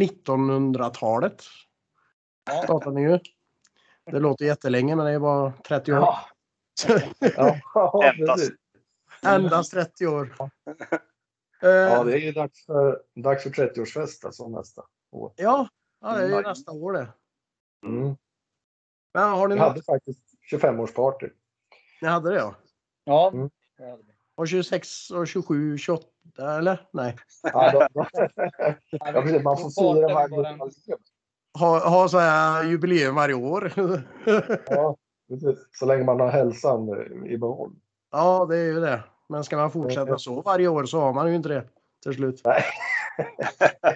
Speaker 1: 1900-talet
Speaker 4: Ja,
Speaker 1: startade ni ju. Det låter jättelänge men det är bara 30 år.
Speaker 3: ja, ja,
Speaker 2: Endast.
Speaker 3: precis.
Speaker 1: Endast 30 år.
Speaker 3: ja,
Speaker 1: Eh,
Speaker 3: det är ju dags för, dags för 30-årsfest alltså nästa år.
Speaker 1: Ja, ja det är ju
Speaker 2: Nej.
Speaker 1: nästa år det.
Speaker 3: Mm.
Speaker 1: Men har ni
Speaker 3: Jag
Speaker 1: något?
Speaker 3: hade faktiskt 25-årsparty.
Speaker 1: Ni hade det ja.
Speaker 4: ja.
Speaker 3: Mm.
Speaker 4: ja.
Speaker 1: Och 26 och 27, 28 eller? Nej.
Speaker 3: Ja, då- då- ja, precis, man får fira
Speaker 4: Då pratar
Speaker 3: varje
Speaker 4: vi bara
Speaker 3: gång
Speaker 4: en-
Speaker 3: man lever.
Speaker 1: Ha, ha så här jubileum varje år.
Speaker 3: Ja, precis. Så länge man har hälsan eh, i behåll.
Speaker 1: ja, det är ju det. Men ska man fortsätta så varje år så har man ju inte det till slut.
Speaker 3: Nej.
Speaker 1: Eh,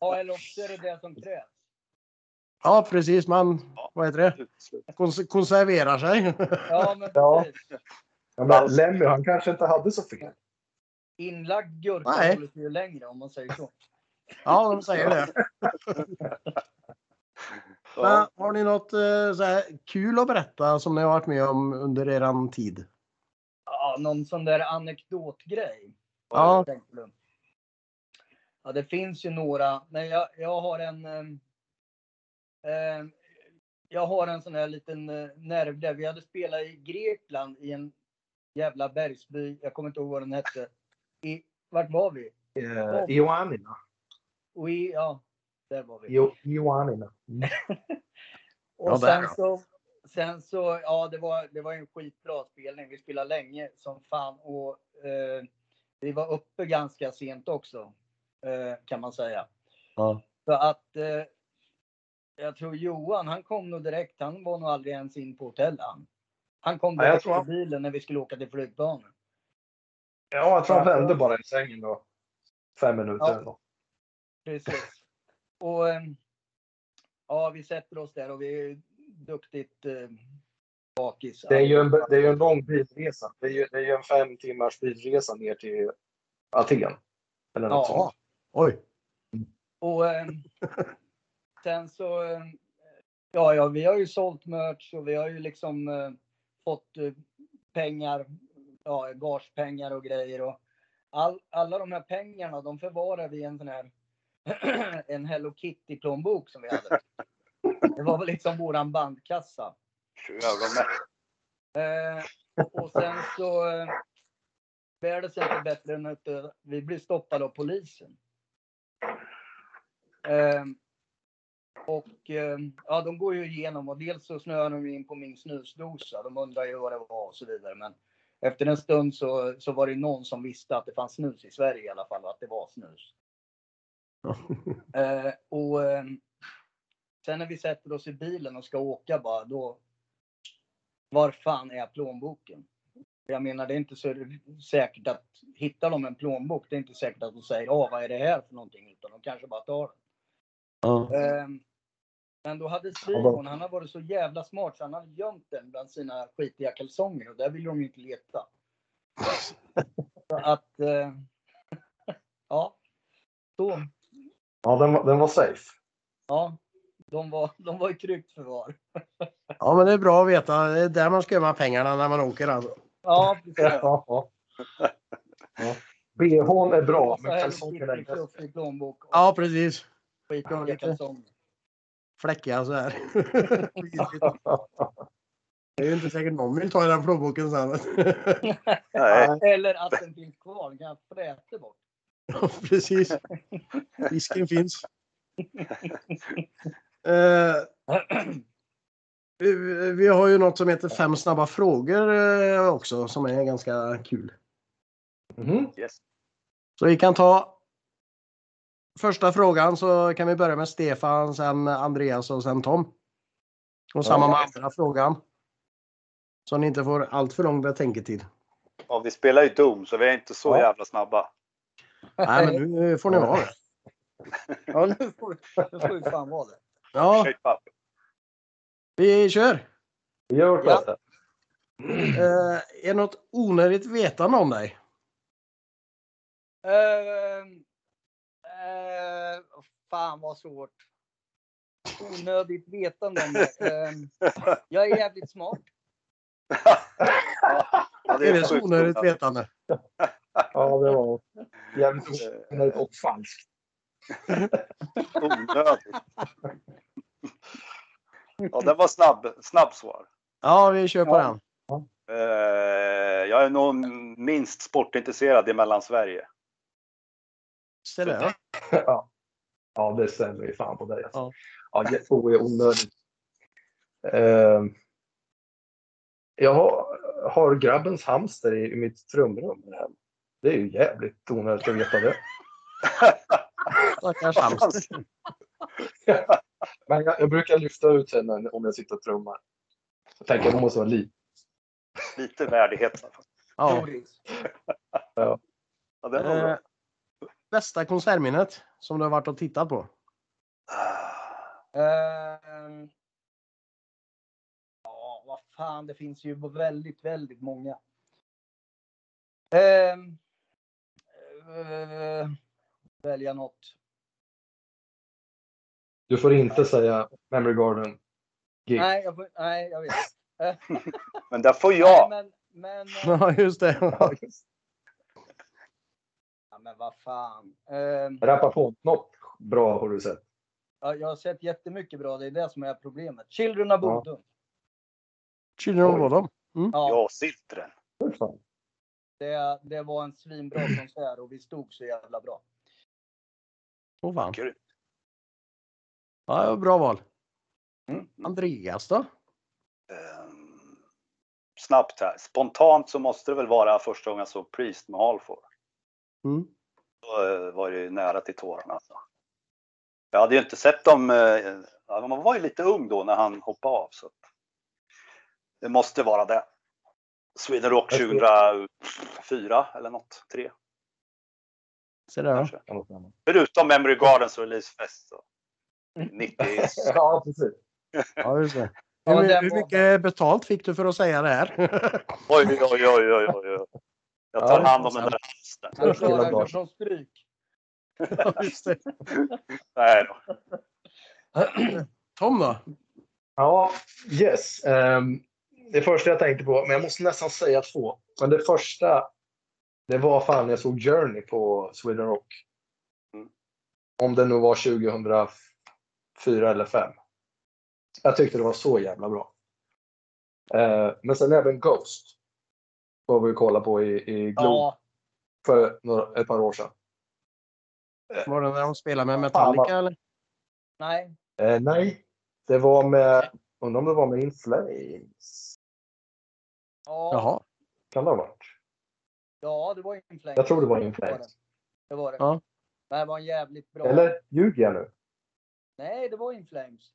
Speaker 4: Ja, eller också är det det som krävs.
Speaker 1: ja, precis. Man vad heter det?
Speaker 2: Absolut.
Speaker 1: Kons- konserverar sig.
Speaker 4: Ja, men
Speaker 3: Ja.
Speaker 4: precis.
Speaker 3: Ja, men Lemmy, han kanske inte hade så fel.
Speaker 4: Inlagd gurka
Speaker 1: Nej.
Speaker 4: håller sig ju längre om man säger så.
Speaker 1: ja, de säger det. Men
Speaker 2: Ja.
Speaker 1: har ni något eh, så här kul att berätta som ni har varit med om under eran tid?
Speaker 4: Ja, någon sån där anekdotgrej.
Speaker 1: Ja.
Speaker 4: tänkte du. Ja, det finns ju några, men jag, jag har en... ehm, ehm, jag har en sån här liten eh, nerv där. Vi hade spelat i Grekland i en jävla bergsby. Jag kommer inte ihåg vad den hette. I, vart var vi?
Speaker 3: Eh, Ioannina.
Speaker 4: Och i, ja, där var vi.
Speaker 3: Jo, Ioannina.
Speaker 4: Och
Speaker 1: Ja, där
Speaker 4: sen
Speaker 1: då.
Speaker 4: så, sen så, ja det var, det var en skitbra spelning. Vi spelade länge som fan och eh, vi var uppe ganska sent också eh, kan man säga.
Speaker 1: Ja.
Speaker 4: Så att eh, jag tror Johan, han kom nog direkt. Han var nog aldrig ens in på hotellet. Han, han kom
Speaker 3: Ja, jag
Speaker 4: direkt
Speaker 3: tror
Speaker 4: till
Speaker 3: han-
Speaker 4: bilen när vi skulle åka till flygplanen.
Speaker 3: Ja, jag tror han vände bara i sängen då. Fem minuter.
Speaker 4: Ja.
Speaker 3: eller nåt.
Speaker 4: Precis. Och ehm, ja, vi sätter oss där och vi är duktigt eh, bakis.
Speaker 3: Det är ju en, det är ju en lång bilresa. Det är ju, det är ju en fem timmars bilresa ner till Aten. Eller något
Speaker 4: Ja.
Speaker 3: sånt.
Speaker 1: Oj.
Speaker 4: Och eh, sen så, eh, ja, ja, vi har ju sålt merch och vi har ju liksom eh, fått eh, pengar, ja, gagepengar och grejer och all, alla de här pengarna, de förvarar vi i en sån här, en Hello Kitty plånbok som vi hade. Det var väl liksom våran bandkassa.
Speaker 2: Jävlar, men-
Speaker 4: Eh, och sen så eh, bär det sig inte bättre än att eh, vi blir stoppade av polisen. Eh, och eh, ja, de går ju igenom och dels så snöar de ju in på min snusdosa. De undrar ju vad det var och så vidare. Men efter en stund så, så var det ju någon som visste att det fanns snus i Sverige i alla fall och att det var snus. Eh, och eh, sen när vi sätter oss i bilen och ska åka bara då. Var fan är plånboken? Jag menar det är inte så säkert att hittar de en plånbok, det är inte säkert att de säger ja vad är det här för någonting utan de kanske bara tar
Speaker 1: Ja.
Speaker 4: den. Eh, men då hade Simon, han har varit så jävla smart så han hade gömt den bland sina skitiga kalsonger och där ville de ju inte leta. Så att, eh, ja. Så
Speaker 3: Ja, den, var- den var safe.
Speaker 4: Ja, de var, de var i tryggt förvar.
Speaker 1: ja, men det är bra att veta. Det är där man ska gömma pengarna när man åker alltså.
Speaker 4: Ja, precis.
Speaker 3: Ja. ja. BHn är bra, men kalsongerna är
Speaker 4: kalsonger.
Speaker 3: bäst.
Speaker 4: Fluffig plånbok och
Speaker 1: Ja, precis.
Speaker 4: skit
Speaker 1: ja,
Speaker 4: i
Speaker 1: lite.
Speaker 4: kalsonger.
Speaker 1: Fläckiga så här. det är ju inte säkert någon vill ta i den plånboken sen.
Speaker 2: Nej,
Speaker 4: Eller att den finns kvar, den kan jag fräta bort.
Speaker 1: Ja, precis. Risken finns. Eh, vi- vi har ju något som heter Fem snabba frågor eh, också som är ganska kul.
Speaker 3: Mhm.
Speaker 2: yes.
Speaker 1: Så vi kan ta första frågan så kan vi börja med Stefan, sen Andreas och sen Tom. Och samma med andra frågan. Så ni inte får allt för lång betänketid.
Speaker 2: Ja, vi spelar ju Doom så vi är inte så
Speaker 3: Ja.
Speaker 2: jävla snabba.
Speaker 1: Nej, men nu får ni vara det.
Speaker 4: Ja, nu får, vi- nu får vi fan vara det.
Speaker 1: Ja,
Speaker 2: Shape up.
Speaker 1: vi kör!
Speaker 3: Vi gör vårt
Speaker 4: Ja.
Speaker 3: bästa.
Speaker 1: Eh, är något onödigt vetande om dig?
Speaker 4: Ehm, eh, fan vad svårt. Onödigt vetande om det. Ehm, jag är jävligt smart.
Speaker 2: Ja,
Speaker 1: Det är det
Speaker 2: sjukt
Speaker 1: så onödigt
Speaker 2: onödigt.
Speaker 1: vetande?
Speaker 3: Ja, det var jävligt
Speaker 2: alltså.
Speaker 3: onödigt och falskt.
Speaker 2: Onödigt. Ja, den var snabb, snabb svar.
Speaker 1: Ja, vi kör på
Speaker 4: Ja.
Speaker 1: den.
Speaker 2: Eh, jag är nog minst sportintresserad i Mellansverige.
Speaker 1: Se där.
Speaker 3: Ja, ja det stämmer ju fan på dig. alltså.
Speaker 1: Ja.
Speaker 3: Ja, Jeffo är onödigt. Ehm, jag har, har grabbens hamster i, i mitt trumrum. här. Det är ju jävligt onödigt att veta det.
Speaker 1: Stackars hamster.
Speaker 3: Men jag, jag brukar lyfta ut henne om jag sitter och trummar. Jag tänker att hon måste vara liten.
Speaker 2: Lite värdighet.
Speaker 1: Ja.
Speaker 4: Doris.
Speaker 2: Ja, den var
Speaker 1: Eh,
Speaker 2: bra.
Speaker 1: bästa konsertminnet som du har varit och tittat på?
Speaker 4: Ehm, Ja, vad fan, det finns ju väldigt, väldigt många. Ehm, eh, välja något.
Speaker 3: Du får inte säga Memory Garden. Gig.
Speaker 4: Nej, jag, får- nej, jag vet.
Speaker 2: Men där får
Speaker 4: Nej,
Speaker 2: jag.
Speaker 4: men, men, eh,
Speaker 1: Ja, just det.
Speaker 4: ja, men vad fan. Ehm,
Speaker 3: Rappa på. Något bra har du sett.
Speaker 4: ja, jag har sett jättemycket bra, det är det som är problemet. Children
Speaker 3: Ja.
Speaker 4: of Bodom.
Speaker 1: Children of Bodom.
Speaker 4: Ja,
Speaker 2: Ja, Siltren.
Speaker 3: Hur fan?
Speaker 4: det, det var en svinbra konsert och vi stod så jävla bra.
Speaker 1: Åh fan.
Speaker 2: Kul.
Speaker 1: Ja, det var bra val.
Speaker 2: Mm.
Speaker 1: Andreas då?
Speaker 2: Ehm, Snabbt här. Spontant så måste det väl vara första gången jag såg Priest med Halford.
Speaker 1: Mm.
Speaker 2: Då eh, var det ju nära till tårarna. Alltså. Jag hade ju inte sett dem. eh, ja, Man var ju lite ung då när han hoppade av. Så att det måste vara det. Sweden Rock
Speaker 3: Jag tror-
Speaker 2: 2004 eller något. Tre
Speaker 1: Se där. ja.
Speaker 2: kanske.
Speaker 3: Kan vara samma.
Speaker 2: Förutom Memory Gardens releasefest. Så. 90.
Speaker 3: Ja, precis.
Speaker 1: Ja, just det.
Speaker 4: Ja,
Speaker 1: hur,
Speaker 4: den
Speaker 1: hur
Speaker 4: var-
Speaker 1: mycket betalt fick du för att säga det här?
Speaker 2: Oj, oj, oj, oj, oj, oj. Jag tar
Speaker 3: Ja,
Speaker 2: hand om den där halsen.
Speaker 4: Han
Speaker 3: Först hela
Speaker 4: klarar
Speaker 3: dagen.
Speaker 4: sig från stryk.
Speaker 1: Ja, just det.
Speaker 2: Nej då.
Speaker 1: Tom då?
Speaker 3: Ja, yes. Ehm, det första jag tänkte på, men jag måste nästan säga två. Men det första, det var fan när jag såg Journey på Sweden Rock.
Speaker 2: Mm.
Speaker 3: Om det nu var 2004 eller 5. Jag tyckte det var så jävla bra. Eh, men sen även Ghost. Var vi kollade på i, i Globe
Speaker 4: Ja,
Speaker 3: för några, ett par år sedan.
Speaker 1: Var det när de spelade med Metallica eller?
Speaker 4: nej.
Speaker 3: Eh, nej, det var med, undrar om det var med In Flames.
Speaker 4: Ja,
Speaker 1: Jaha.
Speaker 3: Kan det ha varit?
Speaker 4: ja det var ju en fläng.
Speaker 3: Jag tror det var In Flames.
Speaker 4: Det var det.
Speaker 1: Ja.
Speaker 4: Men det var en jävligt bra.
Speaker 3: Eller ljuger jag nu?
Speaker 4: Nej, det var In Flames.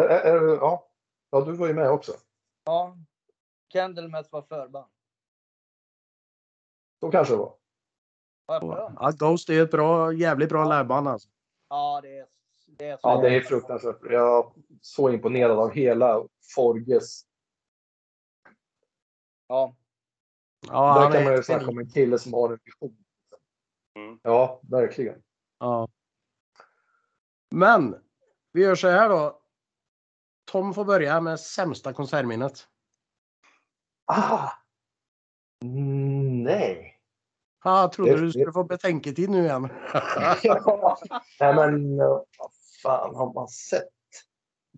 Speaker 3: Ä- ä- ä- Ja. ja, du var ju med också.
Speaker 4: Ja. Candlemass var förband.
Speaker 3: Så kanske det var.
Speaker 4: Har jag för mig?
Speaker 1: Ja, Ghost är ett bra, jävligt bra liveband alltså.
Speaker 4: Ja, det är, det är så.
Speaker 3: Ja, det är
Speaker 4: jävla-
Speaker 3: fruktansvärt. Jag är så imponerad av hela Forges.
Speaker 4: Ja.
Speaker 1: Ja,
Speaker 3: Där
Speaker 1: han
Speaker 3: kan
Speaker 1: är
Speaker 3: man ju
Speaker 1: ett
Speaker 3: snacka
Speaker 1: geni.
Speaker 3: om en kille som har en vision.
Speaker 2: Mm.
Speaker 3: Ja, verkligen.
Speaker 1: Ja. Men vi gör så här då. Tom får börja med sämsta konsertminnet.
Speaker 3: Ah! Mm, Nej.
Speaker 1: Ha, trodde
Speaker 3: Det-
Speaker 1: du skulle få betänketid nu igen.
Speaker 3: Nej men eh, vad fan har man sett?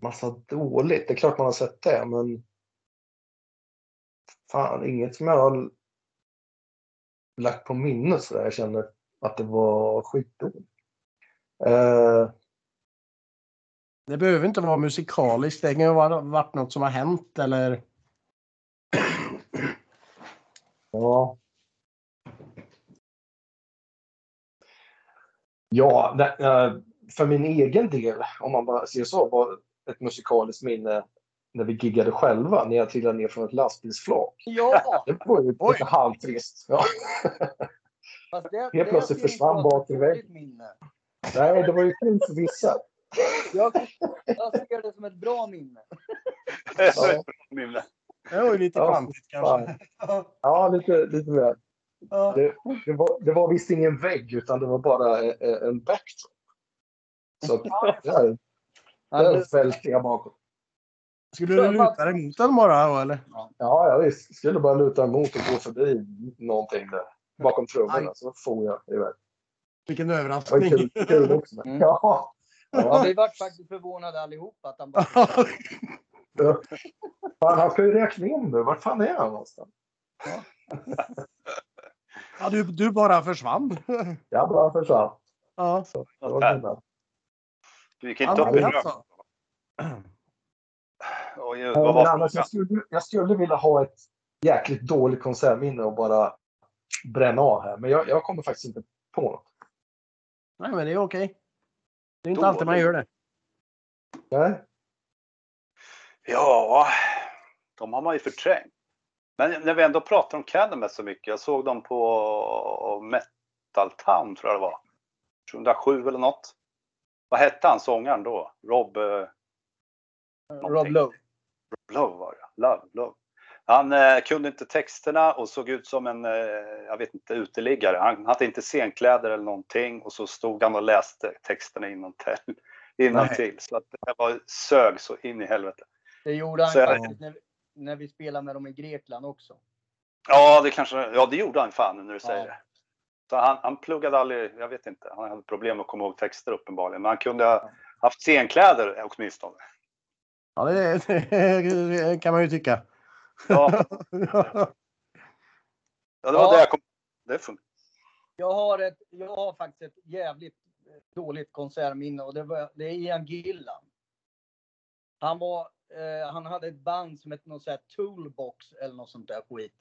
Speaker 3: Massa dåligt. Det är klart man har sett det men. Fan inget som jag har lagt på minnet sådär. Jag känner att det var skitdåligt. Eh,
Speaker 1: Det behöver inte vara musikaliskt. Det kan ju ha varit något som har hänt eller
Speaker 3: ja. Ja, det, eh, för min egen del om man bara ser så var ett musikaliskt minne när vi giggade själva när jag trillade ner från ett lastbilsflak.
Speaker 4: Ja,
Speaker 3: Det var ju
Speaker 1: Oj.
Speaker 3: lite halvtrist. Ja.
Speaker 4: fast det, Helt
Speaker 3: plötsligt försvann bak i väggen. Nej, det var ju fint för vissa.
Speaker 4: Jag, jag ser det som ett bra minne.
Speaker 3: Ja,
Speaker 2: Mimle.
Speaker 1: det var ju lite
Speaker 3: Ja,
Speaker 1: klantigt kanske.
Speaker 3: fan. ja lite, lite väl.
Speaker 1: Ja.
Speaker 3: Det, det, var, det var visst ingen vägg, utan det var bara eh, eh, en backdrop. Så att, där, där välte jag bakåt.
Speaker 1: Skulle du luta dig mot den bara då, eller?
Speaker 3: Ja, ja, visst. Skulle bara luta emot och gå förbi någonting där. Bakom trummorna så får jag iväg.
Speaker 1: Vilken
Speaker 3: Det var
Speaker 1: överraskning.
Speaker 3: kul, kul också.
Speaker 4: Mm.
Speaker 3: Ja.
Speaker 4: Ja,
Speaker 3: Ja,
Speaker 4: vi vart faktiskt förvånade allihopa att han bara...
Speaker 3: fan, han ska ju räkna in nu. Vart fan är han någonstans?
Speaker 1: ja, du, du bara försvann.
Speaker 3: Jag bara försvann.
Speaker 1: ja.
Speaker 3: Det var kul.
Speaker 2: Du gick inte
Speaker 1: Ja,
Speaker 2: upp i
Speaker 1: men
Speaker 2: rök.
Speaker 1: alltså.
Speaker 2: Oj, vad
Speaker 3: Ja,
Speaker 2: var
Speaker 3: men
Speaker 2: frågan?
Speaker 3: annars, jag, skulle, jag skulle vilja ha ett jäkligt dåligt konsertminne och bara bränna av här. Men jag, jag kommer faktiskt inte på något.
Speaker 1: Nej, men det är okej. Det är inte
Speaker 2: Då-
Speaker 1: alltid man gör det.
Speaker 3: Nej?
Speaker 2: Ja, de har man ju förträngt. Men när vi ändå pratar om Candlemass så mycket. Jag såg dem på Metal Town tror jag det var. 2007 eller något. Vad hette han sångaren då? Rob... eh,
Speaker 4: Rob Lowe.
Speaker 2: Love var det. Love, love. Han eh, kunde inte texterna och såg ut som en, eh, jag vet inte, uteliggare. Han hade inte scenkläder eller någonting och så stod han och läste texterna innantill. innantill. Så att det var sög så in i helvete.
Speaker 4: Det gjorde han
Speaker 2: Så jag-
Speaker 4: faktiskt när, när vi spelade med dem i Grekland också.
Speaker 2: Ja, det kanske, ja det gjorde han fan nu när du
Speaker 4: Ja.
Speaker 2: säger det. Så han, han pluggade aldrig, jag vet inte, han hade problem med att komma ihåg texter uppenbarligen. Men han kunde ha haft scenkläder åtminstone.
Speaker 1: Ja, det, det kan man ju tycka.
Speaker 2: Ja, ja det var
Speaker 4: Ja.
Speaker 2: det jag kom det funkar.
Speaker 4: Jag har, ett, jag har faktiskt ett jävligt eh, dåligt konsertminne och det, var, det är Ian Gillan. Han, var, eh, han hade ett band som hette något sånt här Toolbox eller något sånt där skit.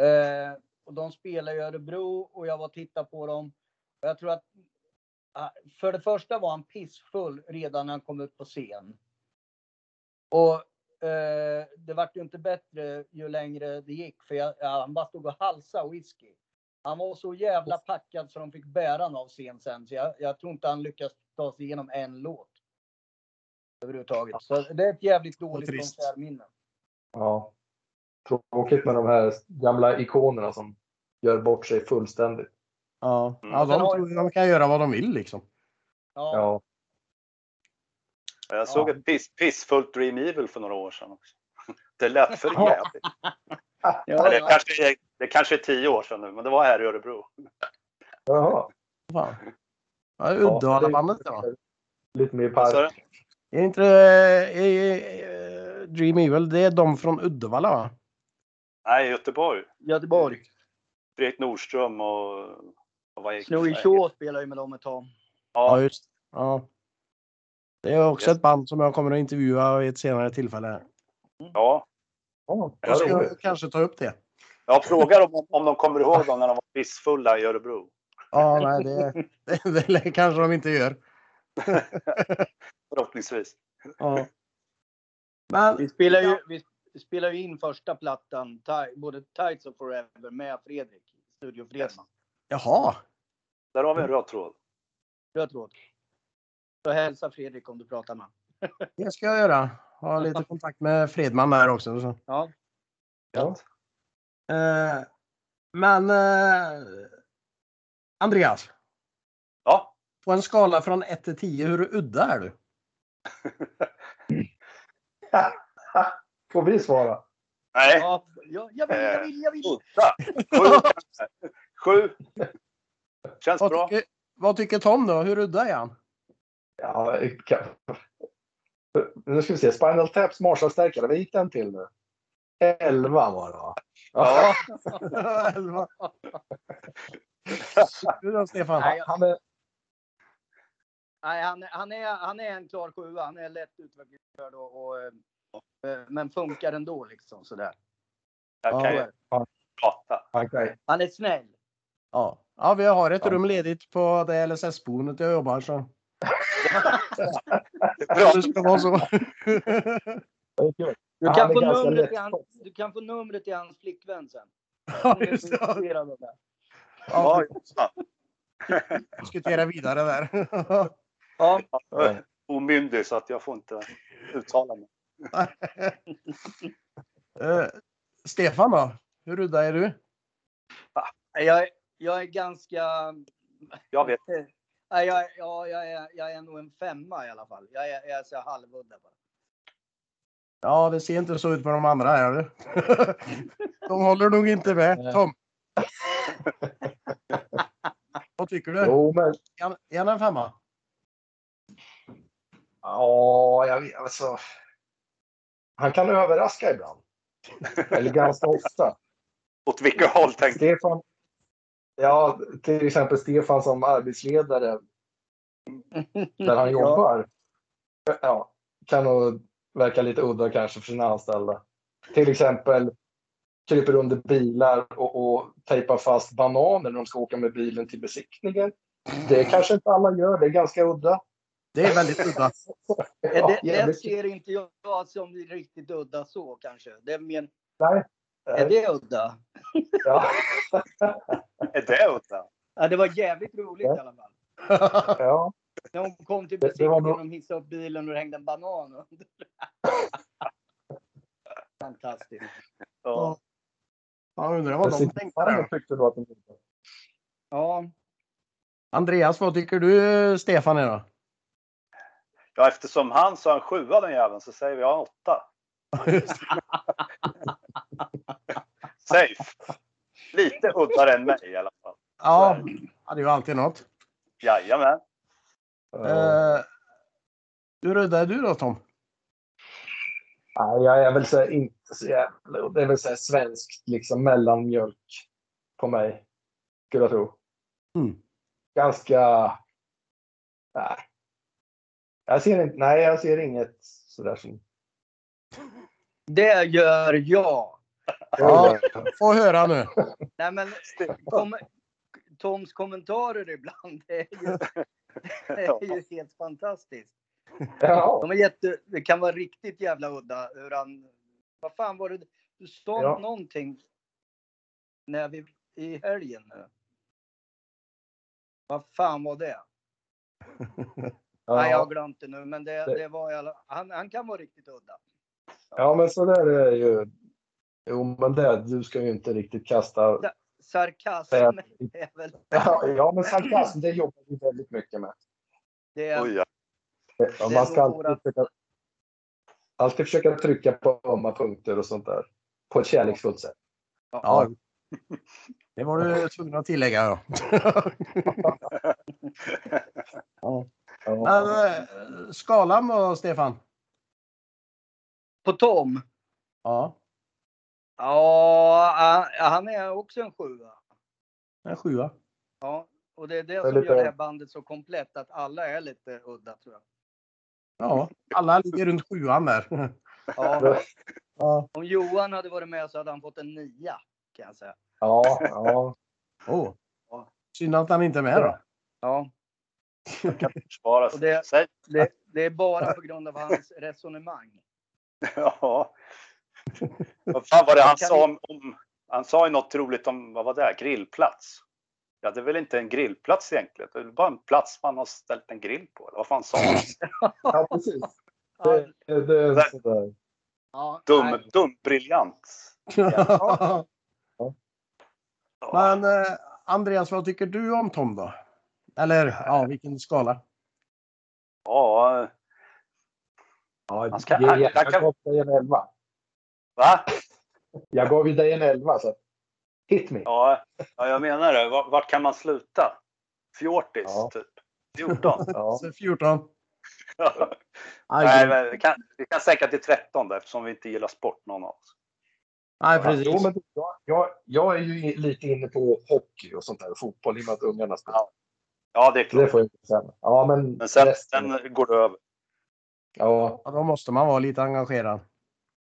Speaker 4: Eh, och de spelade i Örebro och jag var och tittade på dem. Och jag tror att ah, för det första var han pissfull redan när han kom ut på scen. Och eh, det vart ju inte bättre ju längre det gick för jag, ja, han bara stod och halsade whisky. Han var så jävla packad så de fick bära han av scen sen. Så jag, jag tror inte han lyckas ta sig igenom en låt. överhuvudtaget. Så det är ett jävligt dåligt
Speaker 1: trist.
Speaker 4: konsertminne.
Speaker 3: Ja. Tråkigt med de här gamla ikonerna som gör bort sig fullständigt.
Speaker 1: Ja,
Speaker 2: Mm.
Speaker 1: ja de
Speaker 4: Sen har-
Speaker 1: tror ju de kan göra vad de vill liksom.
Speaker 4: Ja,
Speaker 3: Ja.
Speaker 2: Jag såg ett piss, pissfullt Dream Evil för några år sedan också. Det lät för
Speaker 3: Ja.
Speaker 2: jävligt.
Speaker 4: ja,
Speaker 2: Eller
Speaker 4: ja.
Speaker 2: kanske, det kanske är tio år sedan nu, men det var här i Örebro.
Speaker 3: Jaha.
Speaker 1: Fan. Ja,
Speaker 3: Ja,
Speaker 1: Uddevalla-bandet
Speaker 3: det
Speaker 1: det va?
Speaker 3: är Lite mer
Speaker 2: Vad sa du?
Speaker 3: park.
Speaker 1: Är inte eh, eh, eh, Dream Evil, det är de från Uddevalla va?
Speaker 2: Nej, Göteborg.
Speaker 4: Göteborg.
Speaker 2: Fredrik Nordström och... och vad gick-
Speaker 4: Snowy Shaw spelar ju med dem ett tag.
Speaker 1: Ja,
Speaker 2: Ja,
Speaker 1: just det. ja. Det är också
Speaker 2: Yes.
Speaker 1: ett band som jag kommer att intervjua vid ett senare tillfälle.
Speaker 2: ja.
Speaker 3: Ja,
Speaker 1: Jag
Speaker 3: vad
Speaker 1: ska
Speaker 3: roligt.
Speaker 1: jag kanske ta upp det.
Speaker 2: Jag frågar om, om de kommer ihåg dem när de var pissfulla i Örebro.
Speaker 1: Ja, nej, det, det, det kanske de inte gör.
Speaker 2: Förhoppningsvis.
Speaker 1: Ja. Men
Speaker 4: Vi spelar ju, vi spelar ju in första plattan, Ti- både Tights och Forever, med Fredrik. Studio Fredman.
Speaker 1: jaha,
Speaker 2: Där har vi en röd tråd.
Speaker 4: Röd tråd. Så hälsa Fredrik om du pratar med honom.
Speaker 1: det ska jag göra. Ha lite kontakt med Fredman där också. Så.
Speaker 4: Ja.
Speaker 3: Ja.
Speaker 1: Eh, men eh, Andreas,
Speaker 2: Ja,
Speaker 1: på en skala från 1 till 10, hur udda är du?
Speaker 3: Får vi svara? Eh.
Speaker 2: nej.
Speaker 4: Ja, jag, jag vill, jag vill, jag vill.
Speaker 2: Åtta. Sju. kanske. Sju. Känns
Speaker 1: Vad
Speaker 2: bra.
Speaker 1: tycker, vad tycker Tom då? Hur udda är han?
Speaker 3: Ja, kan... Nu ska vi se. Spinal Taps Marshallstärkare. Vi gick den till nu. 11 var det va?
Speaker 2: Ja.
Speaker 1: Elva. Du då Stefan?
Speaker 4: Nej,
Speaker 3: Han är...
Speaker 4: Nej, han, han, är, han är en klar sjua. Han är lätt utvecklingsstörd och, och, eh, men funkar ändå liksom sådär.
Speaker 2: Jag kan ju
Speaker 1: Ja.
Speaker 2: prata.
Speaker 3: Han kan...
Speaker 4: Han är snäll.
Speaker 1: Ja. ja, vi har ett
Speaker 3: Ja.
Speaker 1: rum ledigt på det LSS-boendet jag jobbar så.
Speaker 2: Bra.
Speaker 1: Det ska vara så.
Speaker 4: Du
Speaker 3: Han
Speaker 4: kan,
Speaker 3: är
Speaker 4: få
Speaker 3: ganska
Speaker 4: numret
Speaker 3: lätt.
Speaker 4: till hans, du kan få numret till hans flickvän sen.
Speaker 1: Ja,
Speaker 4: Hon är
Speaker 1: just
Speaker 4: så
Speaker 1: det.
Speaker 4: intresserad av det.
Speaker 1: Ja,
Speaker 2: Ja,
Speaker 1: diskutera vidare där.
Speaker 4: Ja,
Speaker 2: jag är omyndig så att jag får inte uttala mig.
Speaker 1: Eh, Stefan då? Hur udda är du?
Speaker 4: jag, jag är ganska...
Speaker 2: Jag vet.
Speaker 4: Nej, jag, ja, jag, är, jag är nog en femma i alla fall. Jag är, jag är så halvudda bara.
Speaker 1: Ja, det ser inte så ut på de andra här. du. De håller nog inte med.
Speaker 3: Nej.
Speaker 1: Tom? Vad tycker du?
Speaker 3: Jo, men
Speaker 1: Är han- Är han en femma?
Speaker 3: Ja, jag vet, alltså. Han kan överraska ibland. Eller ganska ofta.
Speaker 2: Åt vilket håll tänkte
Speaker 3: Stefan. Ja, till exempel Stefan som arbetsledare. Där han jobbar. Ja, kan nog verka lite udda kanske för sina anställda. Till exempel kryper under bilar och, och tejpar fast bananer när de ska åka med bilen till besiktningen. Det kanske inte alla gör. Det är ganska udda.
Speaker 1: Det är väldigt udda.
Speaker 4: Eh,
Speaker 3: Ja,
Speaker 4: Det, det
Speaker 3: jävligt.
Speaker 4: ser inte jag som riktigt udda så kanske. Det är, men, är
Speaker 3: Nej,
Speaker 4: det udda?
Speaker 3: ja.
Speaker 2: Är det udda?
Speaker 4: Ja, det var jävligt roligt i alla fall.
Speaker 3: ja.
Speaker 4: När hon kom till
Speaker 3: Det- det var
Speaker 4: besiktningen
Speaker 3: nog-
Speaker 4: och de hissade upp bilen och det hängde en banan under. Fantastiskt.
Speaker 2: Ja.
Speaker 1: Jag undrar vad de tänkte där.
Speaker 3: tyckte du att de gjorde.
Speaker 4: Ja,
Speaker 1: Andreas, vad tycker du Stefan är då?
Speaker 2: ja, eftersom han sa en sjua den jäveln så säger vi ja, en åtta. Safe. Lite uddare än mig i alla fall.
Speaker 1: Ja, ja, det är ju alltid något.
Speaker 2: Jajamän.
Speaker 1: Eh, hur udda är du då Tom?
Speaker 3: Nej, jag är väl så här inte så jävla... Det är väl så här svenskt, liksom mellanmjölk på mig. Skulle jag tro.
Speaker 1: Mm.
Speaker 3: Ganska... Nej. Jag ser inte... Nej, jag ser inget sådär som...
Speaker 4: det gör jag.
Speaker 1: Ja. Få höra nu.
Speaker 4: Nej men kom, Toms kommentarer ibland det är ju, det är ju helt fantastiskt.
Speaker 3: ja.
Speaker 4: De är jätte, det kan vara riktigt jävla udda hur han... Vad fan var det? Du sa
Speaker 3: Ja.
Speaker 4: någonting när vi, i helgen nu. Vad fan var det? Nej, jag har glömt det nu, men det, det var i alla, han, han kan vara riktigt udda.
Speaker 3: Ja, men så där är det ju. Jo, men det, du ska ju inte riktigt kasta.
Speaker 4: Sarkasm är väl...
Speaker 3: Ja, men sarkasm, det jobbar vi väldigt mycket med.
Speaker 4: Det är,
Speaker 2: Oj, ja.
Speaker 3: Ja,
Speaker 4: Det är
Speaker 3: man ska
Speaker 4: nog våra-
Speaker 3: alltid försöka, alltid försöka trycka på ömma punkter och sånt där. På ett kärleksfullt sätt.
Speaker 1: Ja. Det var du tvungen att tillägga. Ja. Men,
Speaker 3: Ja.
Speaker 1: eh, skalan då, Stefan?
Speaker 4: på Tom.
Speaker 1: Ja,
Speaker 4: Ja, han- han är också en sjua.
Speaker 1: en sjua.
Speaker 4: Och det är det
Speaker 3: är
Speaker 4: som
Speaker 3: lite-
Speaker 4: gör det här bandet så komplett, att alla är lite udda tror jag.
Speaker 1: Ja, alla ligger runt sjuan där.
Speaker 4: Ja,
Speaker 1: Ja.
Speaker 4: om Johan hade varit med så hade han fått en nia, kan jag säga.
Speaker 3: Ja, ja.
Speaker 1: Oh. Synd att han inte är med då.
Speaker 4: Ja,
Speaker 2: Försvara
Speaker 4: Och det-
Speaker 2: sig.
Speaker 4: det, det är bara på grund av hans resonemang.
Speaker 2: Ja. Vad fan var det han
Speaker 4: Kan
Speaker 2: sa om, om... Han sa ju något roligt om, vad var det, grillplats? Ja, det är väl inte en grillplats egentligen. Det är väl bara en plats man har ställt en grill på. Eller vad fan sa han?
Speaker 3: ja precis.
Speaker 4: Ja,
Speaker 3: Det, det, det är
Speaker 2: Nej.
Speaker 3: sådär.
Speaker 4: ja, nej.
Speaker 2: Dum, dum, briljant. Ja.
Speaker 1: Men eh, Andreas, vad tycker du om Tom då? Eller ja, vilken skala?
Speaker 2: Ja,
Speaker 3: Ja,
Speaker 2: Han ska-
Speaker 3: ge-
Speaker 2: han-
Speaker 3: jag,
Speaker 2: han kan-
Speaker 3: gav dig en elva.
Speaker 2: va?
Speaker 3: Jag gav ju dig en elva. Så. att- Hit me.
Speaker 2: Ja, ja, jag menar det. Vart, vart kan man sluta? Fjortis,
Speaker 3: Ja.
Speaker 2: typ. 14.
Speaker 3: Ja.
Speaker 1: Så 14?
Speaker 2: Ja.
Speaker 1: Aj,
Speaker 2: Nej, men vi, kan, vi kan sänka till 13 där eftersom vi inte gillar sport någon av oss.
Speaker 1: Nej,
Speaker 3: Ja, jo,
Speaker 1: precis.
Speaker 3: men jag, jag, jag är ju i- lite inne på hockey och sånt där. Fotboll i och med att ungarna spelar.
Speaker 2: Ja, det är
Speaker 3: Så det
Speaker 2: klart.
Speaker 3: får jag inte säga. Ja, men,
Speaker 2: Men sen,
Speaker 3: resten-
Speaker 2: sen går det över.
Speaker 3: Ja,
Speaker 1: Ja, då måste man vara lite engagerad.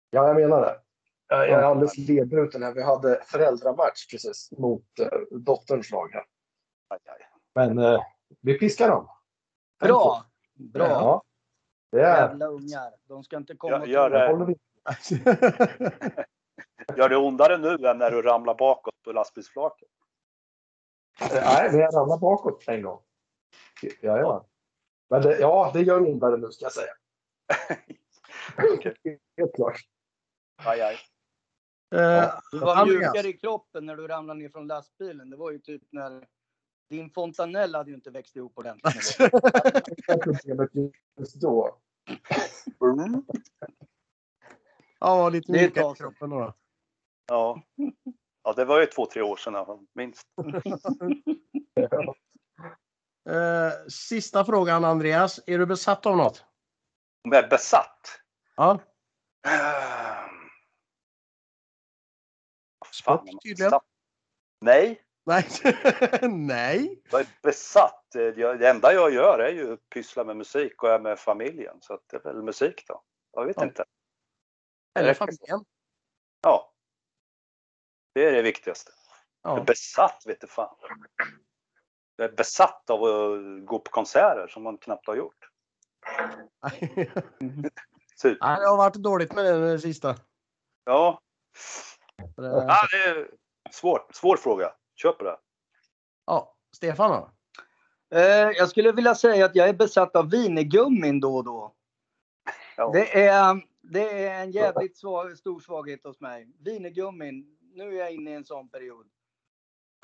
Speaker 3: Ja, jag menar det. Jag jag är alldeles ledbruten här. Vi hade föräldramatch precis mot eh, dotterns lag här.
Speaker 2: Aj, aj.
Speaker 3: Men eh, vi piskar dem.
Speaker 4: Bra! Bra!
Speaker 3: Ja. Det är,
Speaker 4: Jävla ungar. De ska inte
Speaker 2: Gör-
Speaker 4: komma och
Speaker 2: gör
Speaker 4: tro-
Speaker 3: det håller vi.
Speaker 2: Gör det ondare nu än när du ramlar bakåt på lastbilsflaket?
Speaker 3: Nej, vi ramlar bakåt en gång. Ja, ja. Men det, ja, det gör ondare nu ska jag säga. Helt klart.
Speaker 2: Aj, aj.
Speaker 1: Eh,
Speaker 4: Du var
Speaker 1: Andreas.
Speaker 4: mjukare i kroppen när du ramlade ner från lastbilen. Det var ju typ när din fontanell hade ju inte växt ihop ordentligt.
Speaker 3: Det är problemet just då.
Speaker 1: Mm. ja, lite
Speaker 4: Det är ett
Speaker 1: mjukare i
Speaker 4: tag sedan.
Speaker 1: kroppen då.
Speaker 2: Ja. ja, det var ju två, tre år sedan i alla fall, minst.
Speaker 1: Eh, sista frågan Andreas. Är du besatt av något?
Speaker 2: Om jag är besatt?
Speaker 1: Ja,
Speaker 2: Ehm. Vad
Speaker 1: Sport,
Speaker 2: är man
Speaker 1: tydligen.
Speaker 2: besatt? Nej,
Speaker 1: nej, nej.
Speaker 2: jag är besatt. Jag- Det enda jag gör är ju att pyssla med musik och är med familjen. Så att det är väl musik då. Jag vet
Speaker 1: Ja.
Speaker 2: inte.
Speaker 1: Eller familjen.
Speaker 2: Ja. Det är det viktigaste. Jag är
Speaker 1: Ja.
Speaker 2: besatt vet du fan. Jag är besatt av att gå på konserter som man knappt har gjort.
Speaker 1: Nej,
Speaker 2: Typ.
Speaker 1: det har varit dåligt med det nu, det sista. Eh,
Speaker 2: Ja.
Speaker 1: Så det-
Speaker 2: ja, det är svårt. Svår fråga. Kör på det.
Speaker 1: Ja, Stefan då?
Speaker 4: Eh, jag skulle vilja säga att jag är besatt av vinegummin då och då.
Speaker 2: Ja.
Speaker 4: Det är, det är en jävligt svag, stor svaghet hos mig. Vinegummin. Nu är jag inne i en sån period.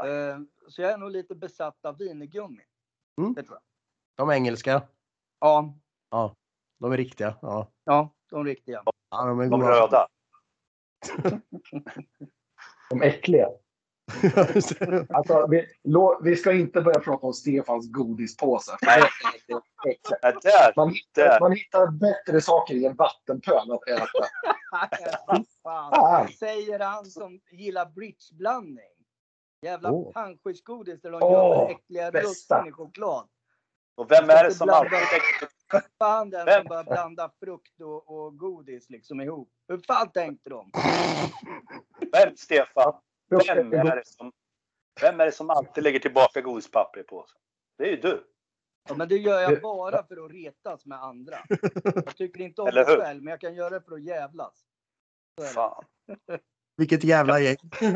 Speaker 4: Eh, så jag är nog lite besatt av vinegummin.
Speaker 1: Mm.
Speaker 4: Det tror jag.
Speaker 1: De engelska.
Speaker 4: Ja,
Speaker 1: De är riktiga. Ja,
Speaker 4: ja, de riktiga.
Speaker 1: ja de är
Speaker 2: De
Speaker 1: goda.
Speaker 2: röda.
Speaker 3: De äckliga. Alltså, vi, lå- vi ska inte börja prata om Stefans godispåse.
Speaker 2: Nej.
Speaker 3: Det är äckligt.
Speaker 2: Nej, Äh, där.
Speaker 3: Man
Speaker 2: Där.
Speaker 3: hittar, man hittar bättre saker i en vattenpöl att äta.
Speaker 4: Fan,
Speaker 3: Fan!
Speaker 4: säger han som gillar bridgeblandning. Jävla
Speaker 1: Åh.
Speaker 4: panschisgodis där de
Speaker 3: Åh,
Speaker 4: gör den äckliga
Speaker 3: bästa.
Speaker 4: russin i choklad.
Speaker 2: Och vem är det som alltid tänker
Speaker 4: Fan den
Speaker 2: Vem?
Speaker 4: som bara blandar frukt och, och godis liksom ihop. Hur fan tänkte de?
Speaker 2: Vem Stefan? Vem är det som, vem är det som alltid lägger tillbaka godispapper i påsen? Det är ju du.
Speaker 4: Ja, men det gör
Speaker 3: Det-
Speaker 4: jag bara för att retas med andra. Jag tycker inte om
Speaker 2: Eller
Speaker 4: mig
Speaker 2: hur?
Speaker 4: själv, men jag kan göra det för att jävlas. Så är det.
Speaker 2: Fan.
Speaker 1: Vilket jävla gäng.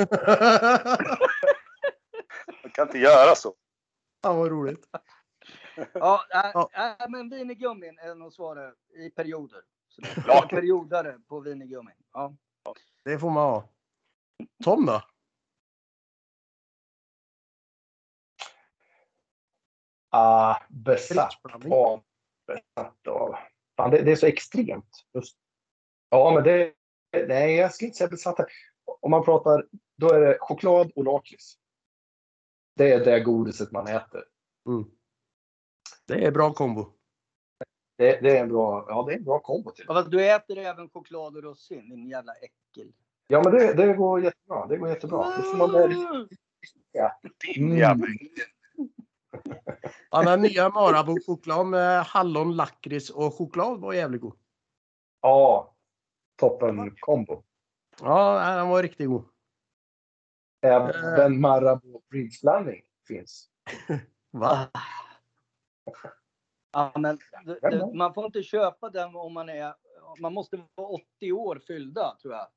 Speaker 2: Man kan inte göra så.
Speaker 1: Fan vad roligt.
Speaker 4: Ja, äh,
Speaker 1: Ja.
Speaker 4: äh, men vin i gummin är nog svaret i perioder. Så det är
Speaker 2: Ja.
Speaker 4: Periodare på vin i gummin. Ja.
Speaker 1: Det får man ha. Tom då?
Speaker 3: Ah, besatt
Speaker 1: Drycksblandning.
Speaker 3: av. Besatt av. Fan, det, det är så extremt. Just. Ja, men det... Nej, jag skulle inte säga besatt. av. Om man pratar, då är det choklad och lakrits. Det är det godiset man äter.
Speaker 1: Det är bra kombo.
Speaker 3: Det, det är en bra, ja, det är en bra kombo till.
Speaker 4: Ja, fast du äter även choklad och russin, din jävla äckel.
Speaker 3: Ja, men det, det går jättebra. Det går jättebra. Det får man Mm. väl-
Speaker 2: Din jävel.
Speaker 1: Ja, den nya Marabou-choklad med hallon, lakrits och choklad var jävligt god.
Speaker 3: Ja, toppen kombo.
Speaker 1: Ja, nej, den var riktigt god.
Speaker 3: Även Marabou bridgeblandning finns.
Speaker 1: Va?
Speaker 4: Ja, men du, du,
Speaker 3: Jajamän.
Speaker 4: man får inte köpa den om man är... Man måste vara 80 år fyllda, tror jag.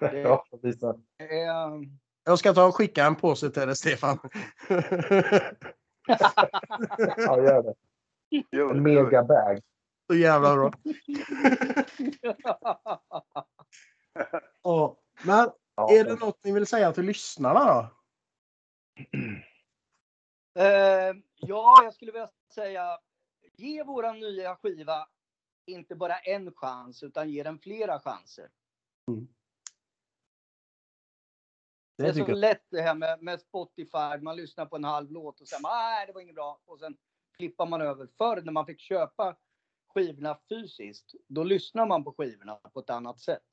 Speaker 4: Det-
Speaker 3: Ja, precis.
Speaker 4: Det är-
Speaker 1: Jag ska ta och skicka en påse till dig, Stefan.
Speaker 3: Ja, gör det.
Speaker 2: Jul,
Speaker 3: En
Speaker 2: jul.
Speaker 3: megabag.
Speaker 1: Så jävla bra. Ja. Men
Speaker 3: Ja,
Speaker 1: är det något ni vill säga till lyssnarna då?
Speaker 4: Eh, ja, jag skulle vilja säga ge våran nya skiva inte bara en chans utan ge den flera chanser. Det är
Speaker 1: Det
Speaker 4: så
Speaker 1: tycker jag.
Speaker 4: lätt det här med, med Spotify. Man lyssnar på en halv låt och sen nej, det var inget bra. Och sen flippar man över. Förr när man fick köpa skivorna fysiskt, då lyssnar man på skivorna på ett annat sätt.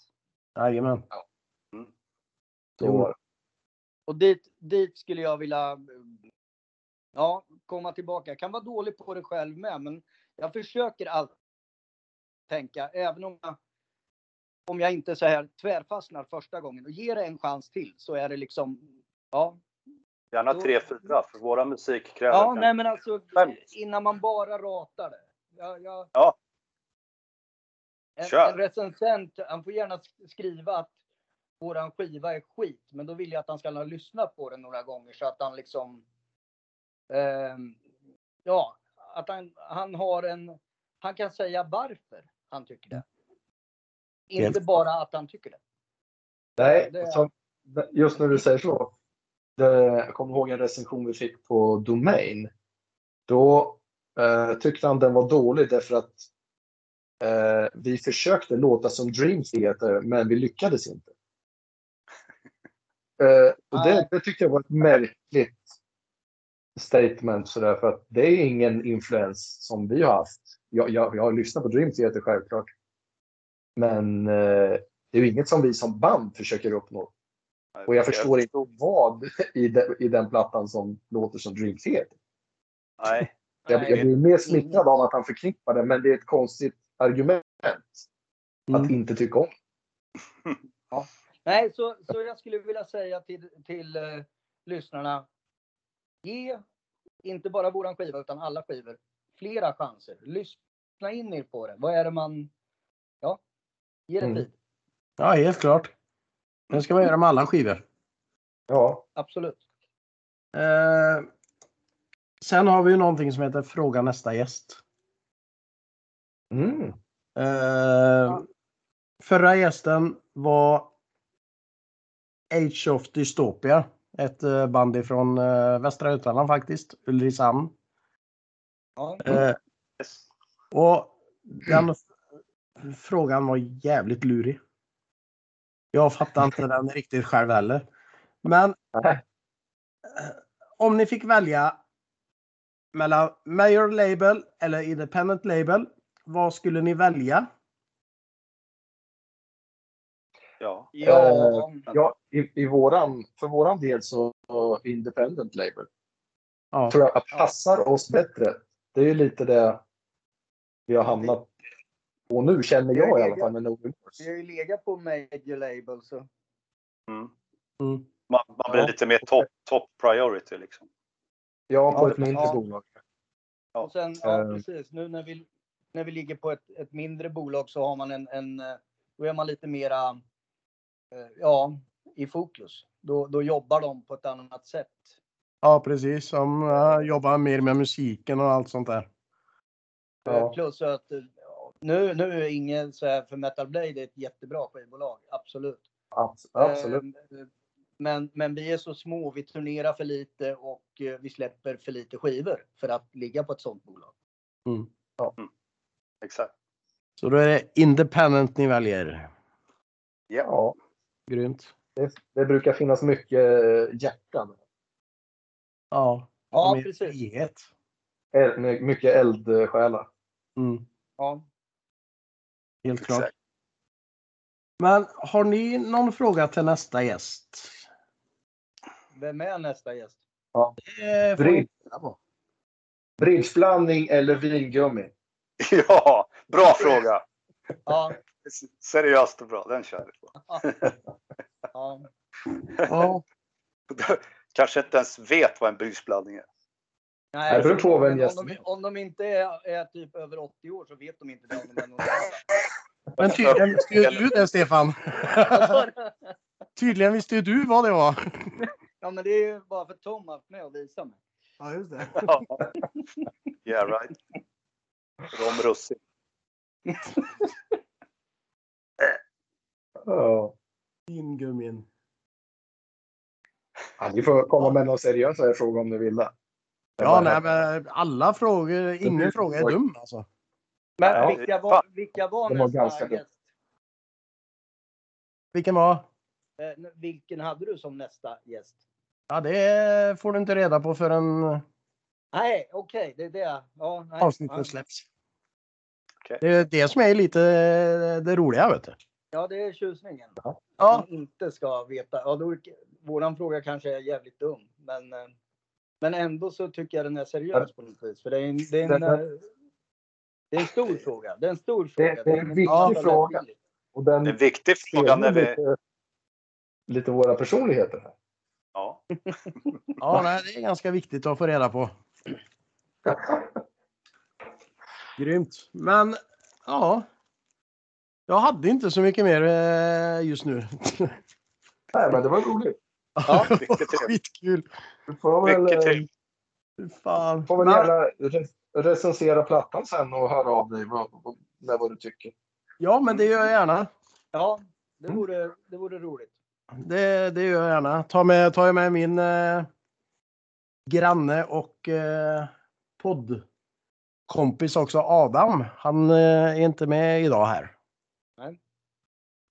Speaker 1: Jajamän.
Speaker 3: så-
Speaker 4: Och dit, dit skulle jag vilja eh, ja, komma tillbaka. Jag kan vara dålig på det själv med, men jag försöker alltid tänka, även om jag, om jag inte så här tvärfastnar första gången och ger det en chans till så är det liksom, ja.
Speaker 2: Gärna tre, fyra, för våra musik kräver
Speaker 4: Ja,
Speaker 2: kanske-
Speaker 4: nej men alltså
Speaker 2: Fem.
Speaker 4: innan man bara ratar det. Jag, jag,
Speaker 2: Ja.
Speaker 4: En,
Speaker 2: Kör.
Speaker 4: en recensent, han får gärna sk- skriva att våran skiva är skit, men då vill jag att han ska ha lyssnat på den några gånger så att han liksom. ehm, ja, att han, han har en. Han kan säga varför han tycker det. Inte bara att han tycker det.
Speaker 3: Nej,
Speaker 4: Det-
Speaker 3: som, just när du säger så. Det, jag kommer ihåg en recension vi fick på Domain. Då eh, tyckte han den var dålig därför att eh, vi försökte låta som Dream Theater men vi lyckades inte. Eh, och det,
Speaker 4: Nej.
Speaker 3: det tyckte jag var ett märkligt statement sådär för att det är ingen influens som vi har haft. Jag, jag, jag har lyssnat på Dream Theater självklart. Men eh, det är ju inget som vi som band försöker uppnå. Och jag förstår inte vad i, de, i den plattan som låter som Dream Theater.
Speaker 2: Nej,
Speaker 3: Jag, jag
Speaker 4: Nej.
Speaker 3: blir mer smickrad av att han förknippar det, men det är ett konstigt argument att
Speaker 1: Mm.
Speaker 3: inte tycka om.
Speaker 4: Nej, så, så jag skulle vilja säga till, till eh, lyssnarna. Ge inte bara våran skiva utan alla skivor flera chanser. Lyssna in er på det. Vad är det man... Ja, ge det
Speaker 3: Mm.
Speaker 4: tid.
Speaker 1: Ja, helt klart. Det ska man göra med alla skivor.
Speaker 3: Ja,
Speaker 4: Absolut.
Speaker 1: Eh, sen har vi ju någonting som heter Fråga nästa gäst.
Speaker 3: mm.
Speaker 1: Eh, Förra gästen var Age of Dystopia. Ett eh, band ifrån eh, Västra Götaland faktiskt, Ulricehamn.
Speaker 4: Ja.
Speaker 1: Eh,
Speaker 2: yes.
Speaker 1: och den f- frågan var jävligt lurig. Jag fattar inte den riktigt själv heller. Men
Speaker 3: Nej.
Speaker 1: eh, om ni fick välja mellan Major Label eller Independent Label, vad skulle ni välja?
Speaker 2: ja.
Speaker 4: Ja,
Speaker 3: ja i, i våran, för våran del så så Independent Label
Speaker 1: Ja,
Speaker 3: tror jag passar oss bättre. Det är ju lite det vi har hamnat på nu, känner jag i alla fall med No
Speaker 4: vi
Speaker 3: Remorse.
Speaker 4: har ju legat på major label så.
Speaker 2: Mm.
Speaker 1: mm.
Speaker 2: Man, man blir
Speaker 3: Ja.
Speaker 2: lite mer top, top priority liksom.
Speaker 3: Ja, på
Speaker 4: Ja,
Speaker 3: ett mindre
Speaker 4: ja.
Speaker 3: bolag.
Speaker 2: Ja.
Speaker 4: Och sen, ja
Speaker 3: Eh.
Speaker 4: precis. Nu när vi, när vi ligger på ett, ett mindre bolag så har man en, en... eh, Då är man lite mera... eh, Ja, i fokus. Då, då jobbar de på ett annat sätt.
Speaker 1: Ja, precis. Som eh, jobbar mer med musiken och allt sånt där.
Speaker 3: Ja.
Speaker 4: Plus att eh, ja, nu, nu är ingen så här för Metal Blade är ett jättebra skivbolag, absolut.
Speaker 3: Abs- Absolut.
Speaker 4: Eh, Men, men vi är så små, vi turnerar för lite och eh, vi släpper för lite skivor för att ligga på ett sånt bolag.
Speaker 2: Exakt.
Speaker 1: Så då är det independent ni väljer.
Speaker 2: Ja.
Speaker 3: Ja,
Speaker 1: Grymt.
Speaker 3: det, det brukar finnas mycket eh, hjärtan.
Speaker 1: Ja,
Speaker 4: Ja,
Speaker 1: mer
Speaker 4: precis.
Speaker 1: frihet.
Speaker 3: El- eh, mycket eldsjälar.
Speaker 1: Mm,
Speaker 4: Ja.
Speaker 1: helt klart.
Speaker 2: Exakt.
Speaker 1: Men har ni någon fråga till nästa gäst?
Speaker 4: Vem är nästa gäst?
Speaker 1: Det Eh, får
Speaker 3: Brid-
Speaker 1: ni reda på.
Speaker 3: Bridgeblandning eller vingummi?
Speaker 2: ja, bra fråga.
Speaker 4: Ja,
Speaker 2: Seriöst och bra, den kör vi på.
Speaker 4: ja.
Speaker 1: Ja,
Speaker 2: Kanske inte ens vet vad en brysblandning är.
Speaker 4: Nej,
Speaker 3: Det beror på vem
Speaker 4: om
Speaker 3: gästen
Speaker 4: de, om de inte är, är typ över 80 år så vet de inte det. Om de är någon
Speaker 1: men tydligen visste ju du det Stefan.
Speaker 4: annan.
Speaker 1: Tydligen visste ju du vad det var.
Speaker 4: ja, men det är ju bara för Tom att med och visa mig.
Speaker 1: Ja, just det.
Speaker 2: Yeah right. Rom russin.
Speaker 3: Ja.
Speaker 1: Vingummin.
Speaker 3: Ja, ni får komma med någon seriösare fråga om ni vill det.
Speaker 1: Ja, nej, men alla frågor, ingen fråga är dum alltså.
Speaker 4: Men
Speaker 3: Ja.
Speaker 4: vilka var, vilka var
Speaker 3: De var
Speaker 4: nästa
Speaker 3: ganska bra.
Speaker 4: gäst?
Speaker 1: Vilken var?
Speaker 4: Eh, vilken hade du som nästa gäst?
Speaker 1: Ja, det får du inte reda på förrän
Speaker 4: Nej, okej, det är det. Ja, nej.
Speaker 1: avsnittet
Speaker 4: Ja.
Speaker 1: släpps.
Speaker 2: Okej.
Speaker 1: Det är det som är lite det roliga vet du.
Speaker 4: Ja, det är tjusningen.
Speaker 1: Ja,
Speaker 4: Man inte ska veta. Ja, då, våran fråga kanske är jävligt dum, men, eh, men ändå så tycker jag den är seriös på något vis. För det är en, det är en,
Speaker 3: Den- den-
Speaker 4: eh, det är en stor fråga. Det är en stor
Speaker 3: Det-
Speaker 4: fråga.
Speaker 3: det är en
Speaker 4: ingen-
Speaker 3: viktig
Speaker 4: ja, det är
Speaker 3: fråga.
Speaker 4: lättvindigt.
Speaker 3: Och den
Speaker 2: En viktig fråga när vi...
Speaker 3: lite, lite våra personligheter. här.
Speaker 2: Ja.
Speaker 1: ja nej, det är ganska viktigt att få reda på. Grymt. Men ja. Jag hade inte så mycket mer eh, just nu.
Speaker 3: Nej, men det var roligt.
Speaker 2: Ja, mycket trevligt.
Speaker 1: Skitkul.
Speaker 3: Du får väl,
Speaker 2: Mycket
Speaker 3: eh,
Speaker 2: trevligt.
Speaker 1: Fy Fan.
Speaker 3: får väl
Speaker 1: Men-
Speaker 3: gärna re- recensera plattan sen och höra av dig vad, vad, med vad du tycker.
Speaker 1: Ja, men det gör jag gärna.
Speaker 4: Ja, det
Speaker 3: Mm.
Speaker 4: vore, det vore roligt.
Speaker 1: Det, det gör jag gärna. Ta med, tar jag med min eh, granne och eh, poddkompis också, Adam. Han eh, är inte med idag här.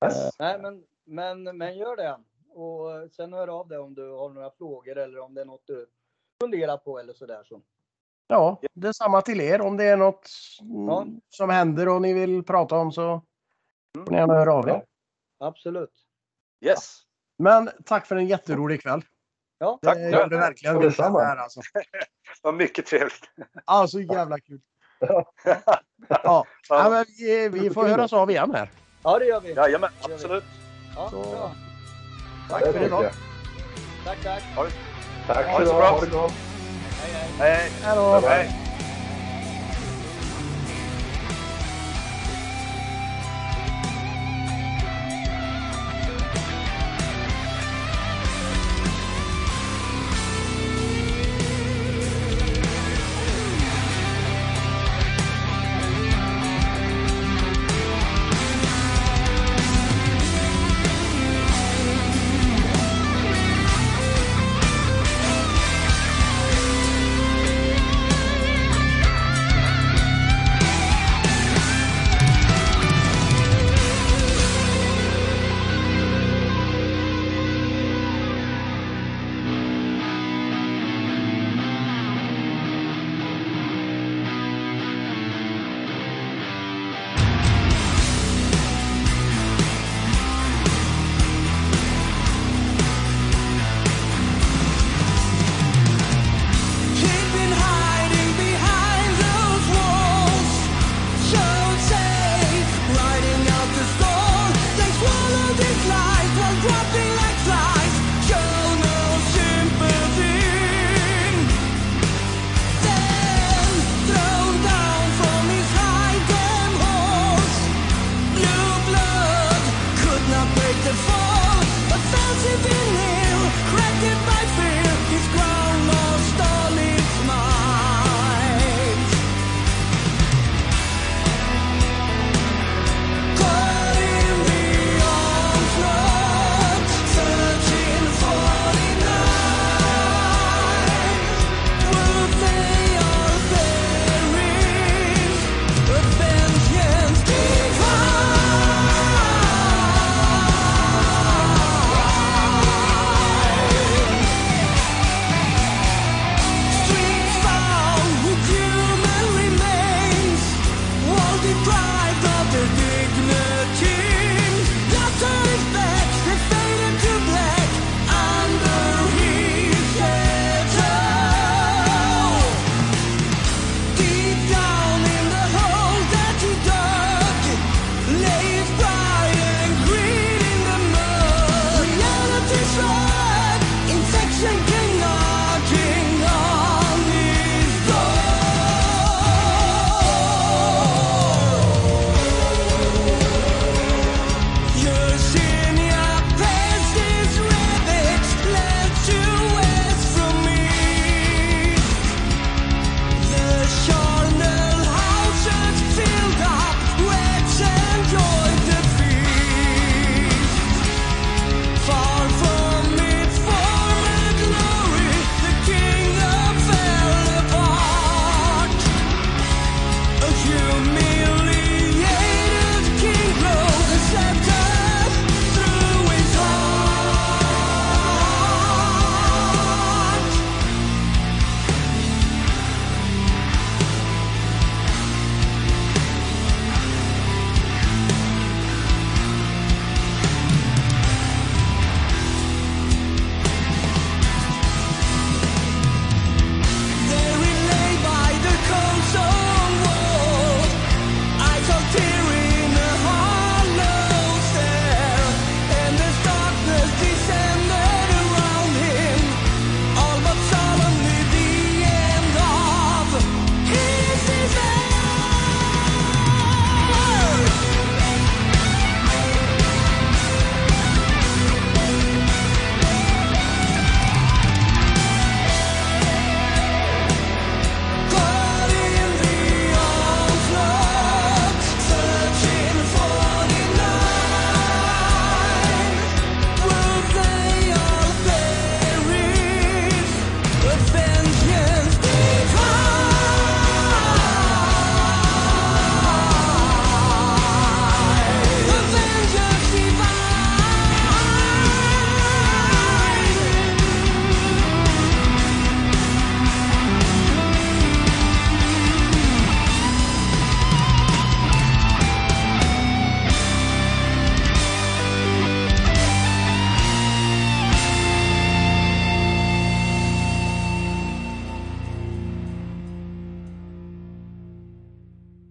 Speaker 3: Yes.
Speaker 4: Nej, men, men, men gör det. Och eh, sen hör av dig om du har några frågor eller om det är något du funderar på eller sådär. Så.
Speaker 1: Ja, detsamma till er. Om det är något
Speaker 4: Ja.
Speaker 1: mm, som händer och ni vill prata om så får ni gärna höra av er.
Speaker 4: Absolut.
Speaker 2: Yes.
Speaker 1: Men tack för en jätterolig kväll.
Speaker 4: Ja,
Speaker 2: Tack.
Speaker 1: Det gjorde verkligen vi
Speaker 3: Detsamma.
Speaker 1: här alltså.
Speaker 2: Det var mycket trevligt.
Speaker 1: Alltså jävla kul. Ja, ja men vi, vi får höras av igen här.
Speaker 4: ja det gör vi.
Speaker 2: Jajamän, absolut.
Speaker 4: Ja,
Speaker 1: Så-
Speaker 4: bra.
Speaker 1: Tack
Speaker 3: Det
Speaker 1: för
Speaker 3: tycker
Speaker 1: idag.
Speaker 3: jag.
Speaker 4: Tack, tack.
Speaker 3: Tack
Speaker 2: Ha
Speaker 3: för
Speaker 2: det så
Speaker 3: idag.
Speaker 2: bra.
Speaker 3: Ha det gott.
Speaker 4: Hej,
Speaker 2: Hej,
Speaker 4: hej.
Speaker 1: Hej då.
Speaker 2: hej.